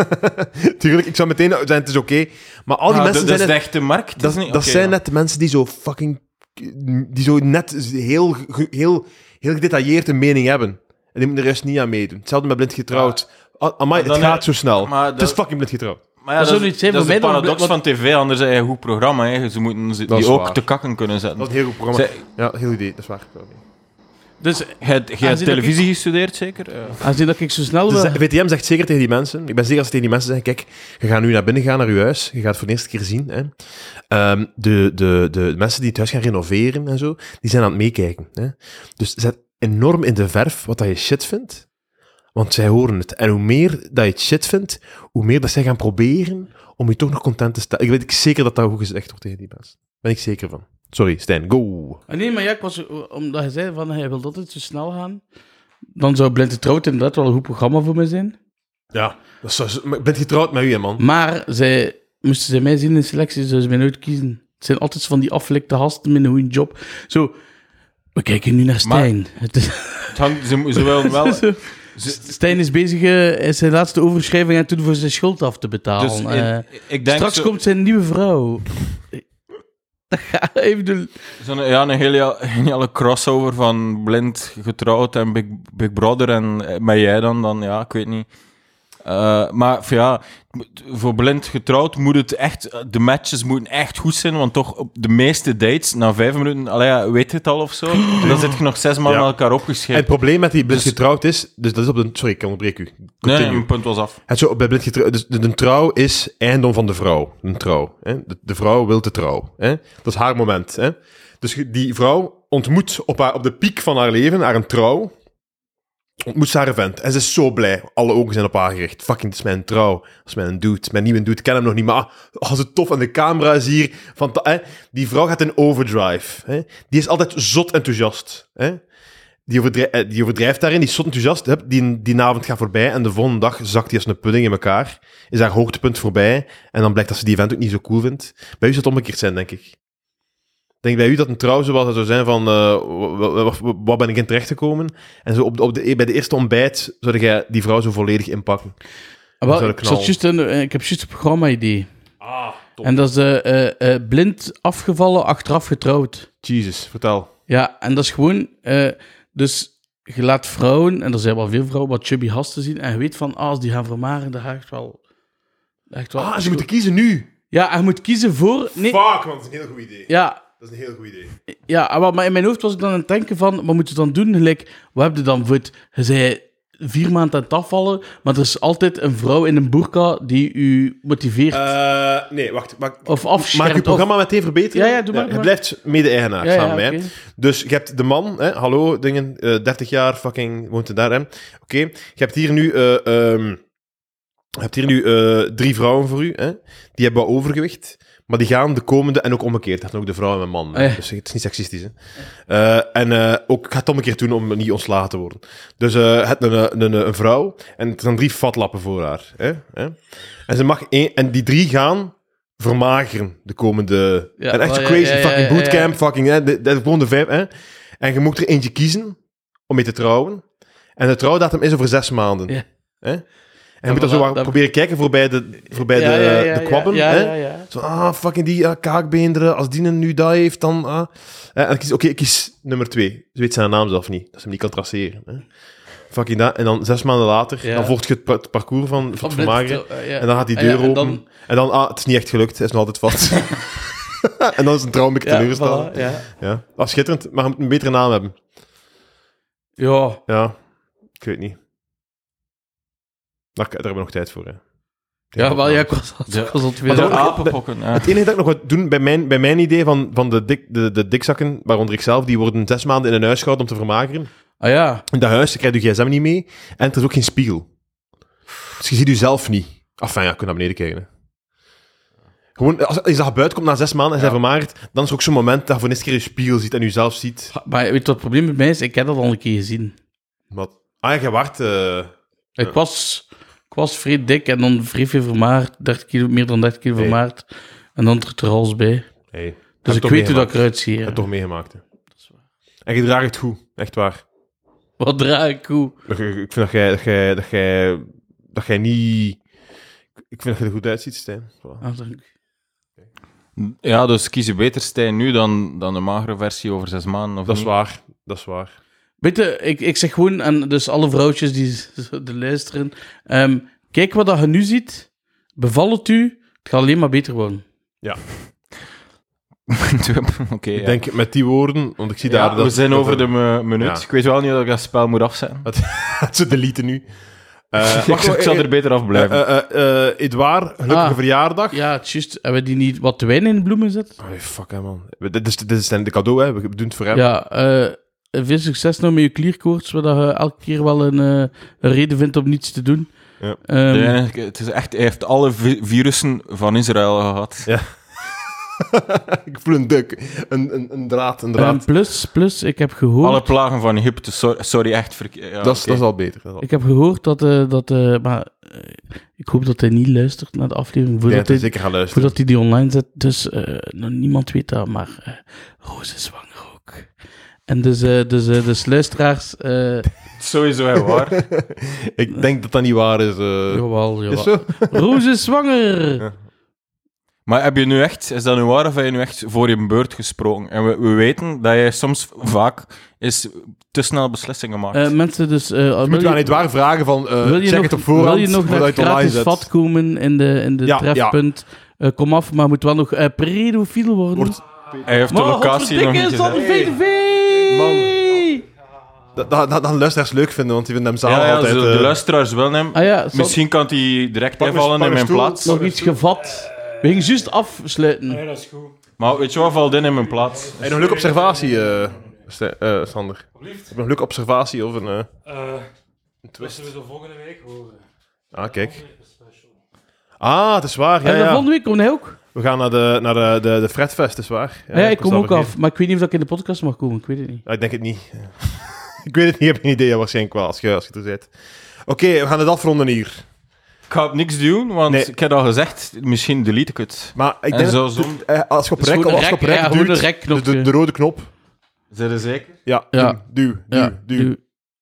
Tuurlijk, ik zou meteen zijn, het is oké. Maar al die Ah, mensen dat zijn is de net, echte markt. dat, is niet, dat oké, zijn ja. net de mensen die zo fucking, die zo net heel, ge- heel, heel gedetailleerd een mening hebben. En die moeten de rest niet aan meedoen. Hetzelfde met blind getrouwd. Ah, Amai, het Dan, eh, gaat zo snel. maar Het is dat- fucking blind getrouwd. Maar ja, Dat dat, zou is- niet zijn, dat voor is de mij dan- paradox wat- van tv, anders is je een goed programma. Hè. Ze moeten ze, Dat is die ook waar. te kakken kunnen zetten. Dat is een heel goed programma. Zij- Ja, heel idee, dat is waar. Dus Jij jij dat hebt ik- televisie gestudeerd, zeker? Eh, aanzien dat ik zo snel Dus wil... de VTM zegt zeker tegen die mensen, ik ben zeker als ze tegen die mensen zeggen, kijk, je gaat nu naar binnen gaan, naar je huis, je gaat het voor de eerste keer zien. Hè. Ehm, de, de, de mensen die het huis gaan renoveren en zo, die zijn aan het meekijken. Hè. Dus zet enorm in de verf wat dat je shit vindt, want zij horen het. En hoe meer dat je het shit vindt, hoe meer dat zij gaan proberen om je toch nog content te stellen. Ik weet zeker dat dat goed gezegd wordt tegen die mensen. Ben ik zeker van. Sorry, Stijn, go! Ah, nee, maar ja, ik was, omdat je zei van hij wil altijd zo snel gaan, dan zou Blind Getrouwd inderdaad wel een goed programma voor mij zijn. Ja, dat is, zo- maar ik ben getrouwd met u, hè, man. Maar zij, moesten zij mij zien in de selectie, zouden ze mij nooit kiezen. Het zijn altijd van die afgelikte gasten met een goede job. Zo, we kijken nu naar Stijn. Het is- het hangt, ze, ze willen wel... Zo, Stijn is bezig eh, zijn laatste overschrijving aan te doen voor zijn schuld af te betalen. Dus in- Eh, ik denk straks zo- komt zijn nieuwe vrouw. Even de... Zo'n, ja, een hele geniale crossover van blind getrouwd en Big, Big Brother en eh, met jij dan, dan ja, ik weet niet. Eh, maar voor ja, voor blind getrouwd moet het echt, eh, de matches moeten echt goed zijn, want toch op de meeste dates, na vijf minuten, allee, ja, weet je het al of zo, dan zit je nog zes man Ja. aan elkaar En het opgeschreven. probleem met die blind Dus- getrouwd is, dus dat is op de... Sorry, ik onderbreek u. Nee, Continue. nee, mijn punt was af. Het zo, bij blind getrouwd, dus de, de trouw is eigendom van de vrouw. Een trouw. Hè? De, de vrouw wil de trouw. Hè? Dat is haar moment. Hè? Dus je- die vrouw ontmoet op, haar, op de piek van haar leven, haar een trouw, ontmoet ze haar vent. En ze is zo blij. Alle ogen zijn op haar gericht. Fucking, dit is mijn trouw. Dat is mijn dude. Mijn nieuwe dude, ik ken hem nog niet, maar ah, als het tof. En de camera is hier. Van, hè? Die vrouw gaat in overdrive. Hè? Die is altijd zot enthousiast. Hè? Die, overdrij- eh, die overdrijft daarin, die is zot enthousiast. Hup, Die, die avond gaat voorbij en de volgende dag zakt die als een pudding in elkaar. Is haar hoogtepunt voorbij en dan blijkt dat ze die event ook niet zo cool vindt. Bij u zou het omgekeerd zijn, denk ik. Ik Denk bij u dat een trouw zoals dat zou zijn van eh, wa- wa- wa- wa- wat ben ik in terecht gekomen? En zo op de, op de, bij de eerste ontbijt zou jij die vrouw zo volledig inpakken. Ah, wel, zou ik, de zat knal. juist een, eh, ik heb juist een programma-idee. Ah, top. En dat is eh, eh, eh, blind afgevallen, achteraf getrouwd. Jesus, vertel. Ja, en dat is gewoon... eh, dus je laat vrouwen, en er zijn wel veel vrouwen, wat chubby gasten zien. En je weet van, ah, als die gaan vermaren, dan ga ik het wel... Echt wel Ah, ze moeten kiezen nu. Ja, en je moet kiezen voor... Nee, Fuck, man, dat is een heel goed idee. ja, Dat is een heel goed idee. ja, ah, wel, maar in mijn hoofd was ik dan aan het denken van, wat moeten we dan doen? Gelijk, wat heb je dan voor het... Je zei vier maanden aan het afvallen, maar er is altijd een vrouw in een burka die u motiveert. Eh, nee, wacht. wacht. of afschermt. Mag ik uw of- programma meteen verbeteren? Ja, ja, doe maar, doe je maar. blijft mede-eigenaar Ja, ja, samen met mij. oké. Dus je hebt de man, hè, hallo, dingen, eh 30 jaar, fucking, woont hij daar, hè. Oké, je hebt hier nu, eh, ehm, je hebt hier nu eh, drie vrouwen voor u, hè. Die hebben wat overgewicht, maar die gaan de komende, en ook omgekeerd, dat zijn ook de vrouw en de man. hè. Ah, ja. Dus het is niet seksistisch, hè. Eh, en eh, ook, ik ga het omgekeerd doen om niet ontslagen te worden. Dus eh, je hebt een, eh, een, eh, een vrouw, en er zijn drie vatlappen voor haar, hè. hè. En, ze mag één, en die drie gaan vermageren de komende... Ja, en echt zo oh, ja, crazy, ja, ja, fucking ja, ja. bootcamp, fucking... Hè, de- de- gewoon de vijf, hè. En je moet er eentje kiezen om mee te trouwen. En de trouwdatum is over zes maanden. Ja. Hè? En je moet Ja, maar dan zo dat- wat dat- proberen kijken voorbij de, voorbij Ja, de, ja, ja, de ja, kwabben. ja, hè? ja, ja. Zo, ah, fucking die ah, kaakbeenderen. Als die een nu dat heeft, dan... Ah. Hè, En dan kies, oké, ik kies nummer twee. Ze weet zijn naam zelf niet. Dat ze hem niet kan traceren. Hè? Fucking dat. En dan zes maanden later, Ja. dan volgt je het, pa- het parcours van, van Of het net- vermageren. eh, ja. En dan gaat die Ah, ja, deur en open. dan- En dan, ah, het is niet echt gelukt. Hij is nog altijd vast. en dan is een trouw ik teleurgesteld. voilà, ja. Ja. Ah, schitterend, maar je moet een betere naam hebben. ja, Ja, ik weet niet. Daar, daar hebben we nog tijd voor, hè. ja, wel, ja, ik was al, Ja. ik was al twee Maar De dat- dagen- apenpokken. ja. Het enige dat ik nog wat doen bij mijn, bij mijn idee van, van de, dik, de, de dikzakken, waaronder ik zelf, die worden zes maanden in een huis gehouden om te vermageren. Ah ja, In dat huis krijg je je gsm niet mee en er is ook geen spiegel. Dus je ziet jezelf niet. Enfin, ja, je kunt naar beneden kijken. hè. Gewoon, als, als dat buiten komt na zes maanden en zijn vermagerd, dan is er ook zo'n moment dat je voor de eerste keer een spiegel ziet en jezelf ziet. maar weet je wat het probleem met mij is? Ik heb dat al een keer gezien. Wat? Ah ja, je waart... eh, Ik was, ik was vrij dik en dan vrij veel vermaard, 30 kilo, meer dan 30 kilo Nee. vermaard. En dan er alles bij. hey, heb Dus het ik toch weet hoe dat meegemaakt. ik eruit zie. ja. Heb het toch meegemaakt. hè. En je draagt het goed, echt waar. Wat draag ik hoe? Ik ik- ik vind dat jij, dat jij, dat jij, dat jij niet... Ik vind dat je er goed uitziet, Stijn. Voilà. Ah, dank. Ja, dus kies je beter Stijn nu dan, dan de magere versie over zes maanden. Of Dat is niet? waar, dat is waar. Weet je, ik, ik zeg gewoon aan dus alle vrouwtjes die z- de luisteren. ehm, kijk wat dat je nu ziet. Bevalt het u? Het gaat alleen maar beter worden. Oké, ja. Ik denk met die woorden, want ik zie Ja, daar... we zijn dat- over de mu- minuut. Ja. Ik weet wel niet of ik dat spel moet afzetten. Dat ze deleten nu. Eh, ik, zou- ik zal er beter af blijven. Eh, eh, eh, eh, Edouard, gelukkige Ah. verjaardag. Ja, het is juist. Hebben we die niet wat wijn in bloemen zetten? Oh, fuck, hè, man. We- Dit is, dit is een cadeau, hè. We doen het voor hem. Ja, eh, veel succes nou met je klierkoorts, waar dat je elke keer wel een, eh, een reden vindt om niets te doen. Ja. Ehm, De enige- het is echt, hij heeft alle vi- virussen van Israël gehad. ik voel een duk. Een, een, een draad, een draad. ehm, plus, plus, ik heb gehoord... Alle plagen van Egypte. Sorry, sorry echt verkeerd. Ja, dat, is, oké. dat is al beter. Dat is al- Ik heb gehoord dat... eh, dat eh, maar eh, ik hoop dat hij niet luistert naar de aflevering Ik denk voordat dat hij hij zeker gaan luisteren. Voordat hij die online zet, dus eh, nog niemand weet dat, maar eh Roos is zwanger ook. En dus, eh, dus, eh, dus luisteraars, eh Sowieso heel waar. Ik denk dat dat niet waar is. eh. jawel, jawel. is zo? Roos is zwanger! Ja. Maar heb je nu echt, is dat nu waar of heb je nu echt voor je beurt gesproken? En we, we weten dat jij soms vaak is te snel beslissingen maakt. Eh, mensen, dus... eh, Je wil moet je- aan Edouard vragen van... eh, wil je check nog, het op voorhand. Wil je nog naar voordat het je het online gratis zet. vat komen in de, in de Ja, trefpunt? Eh, kom af, maar moet wel nog eh, pedofiel worden. Wordt- hij heeft de maar locatie nog godverdikke, niet is dat gezet. een VDV? Dat, dat, dat gaan luisteraars leuk vinden, want die vinden hem Ja, samen ja, altijd... zo- eh, de luisteraars wel hem. Ah ja, zal- Misschien kan hij direct Pak een- invallen pak in een mijn stoel. plaats. nog iets gevat. We gingen juist afsluiten. dat is goed. Maar weet je wat, valt in in mijn plaats. Heb je nog een leuke observatie, eh Ste- eh, Sander? Heb je nog een leuke observatie of een... eh, een twist? we de volgende week horen. Ah, kijk. Ah, het is waar. Ja, en dan ja. volgende week komt hij ook. We gaan naar de, naar de, de, de Fredfest, is waar. Ja, ik was kom al ook vergeten. af, maar ik weet niet of ik in de podcast mag komen. Ik weet het niet. Ah, ik denk het niet. ik weet het niet, ik heb geen idee waarschijnlijk wel, als je, als je er zit. Oké, we gaan het afronden hier. Ik ga niks doen, want Nee. ik heb al gezegd, misschien delete ik het. Maar ik En denk... zo dat- zon- eh, als je op Dus rek, gewoon een als je op rek- rek ja, gewoon duwt, dus een rekknopje. de, de, de rode knop, Zijn er zeker? ja, Ja. duw, duw, duw, duw. duw.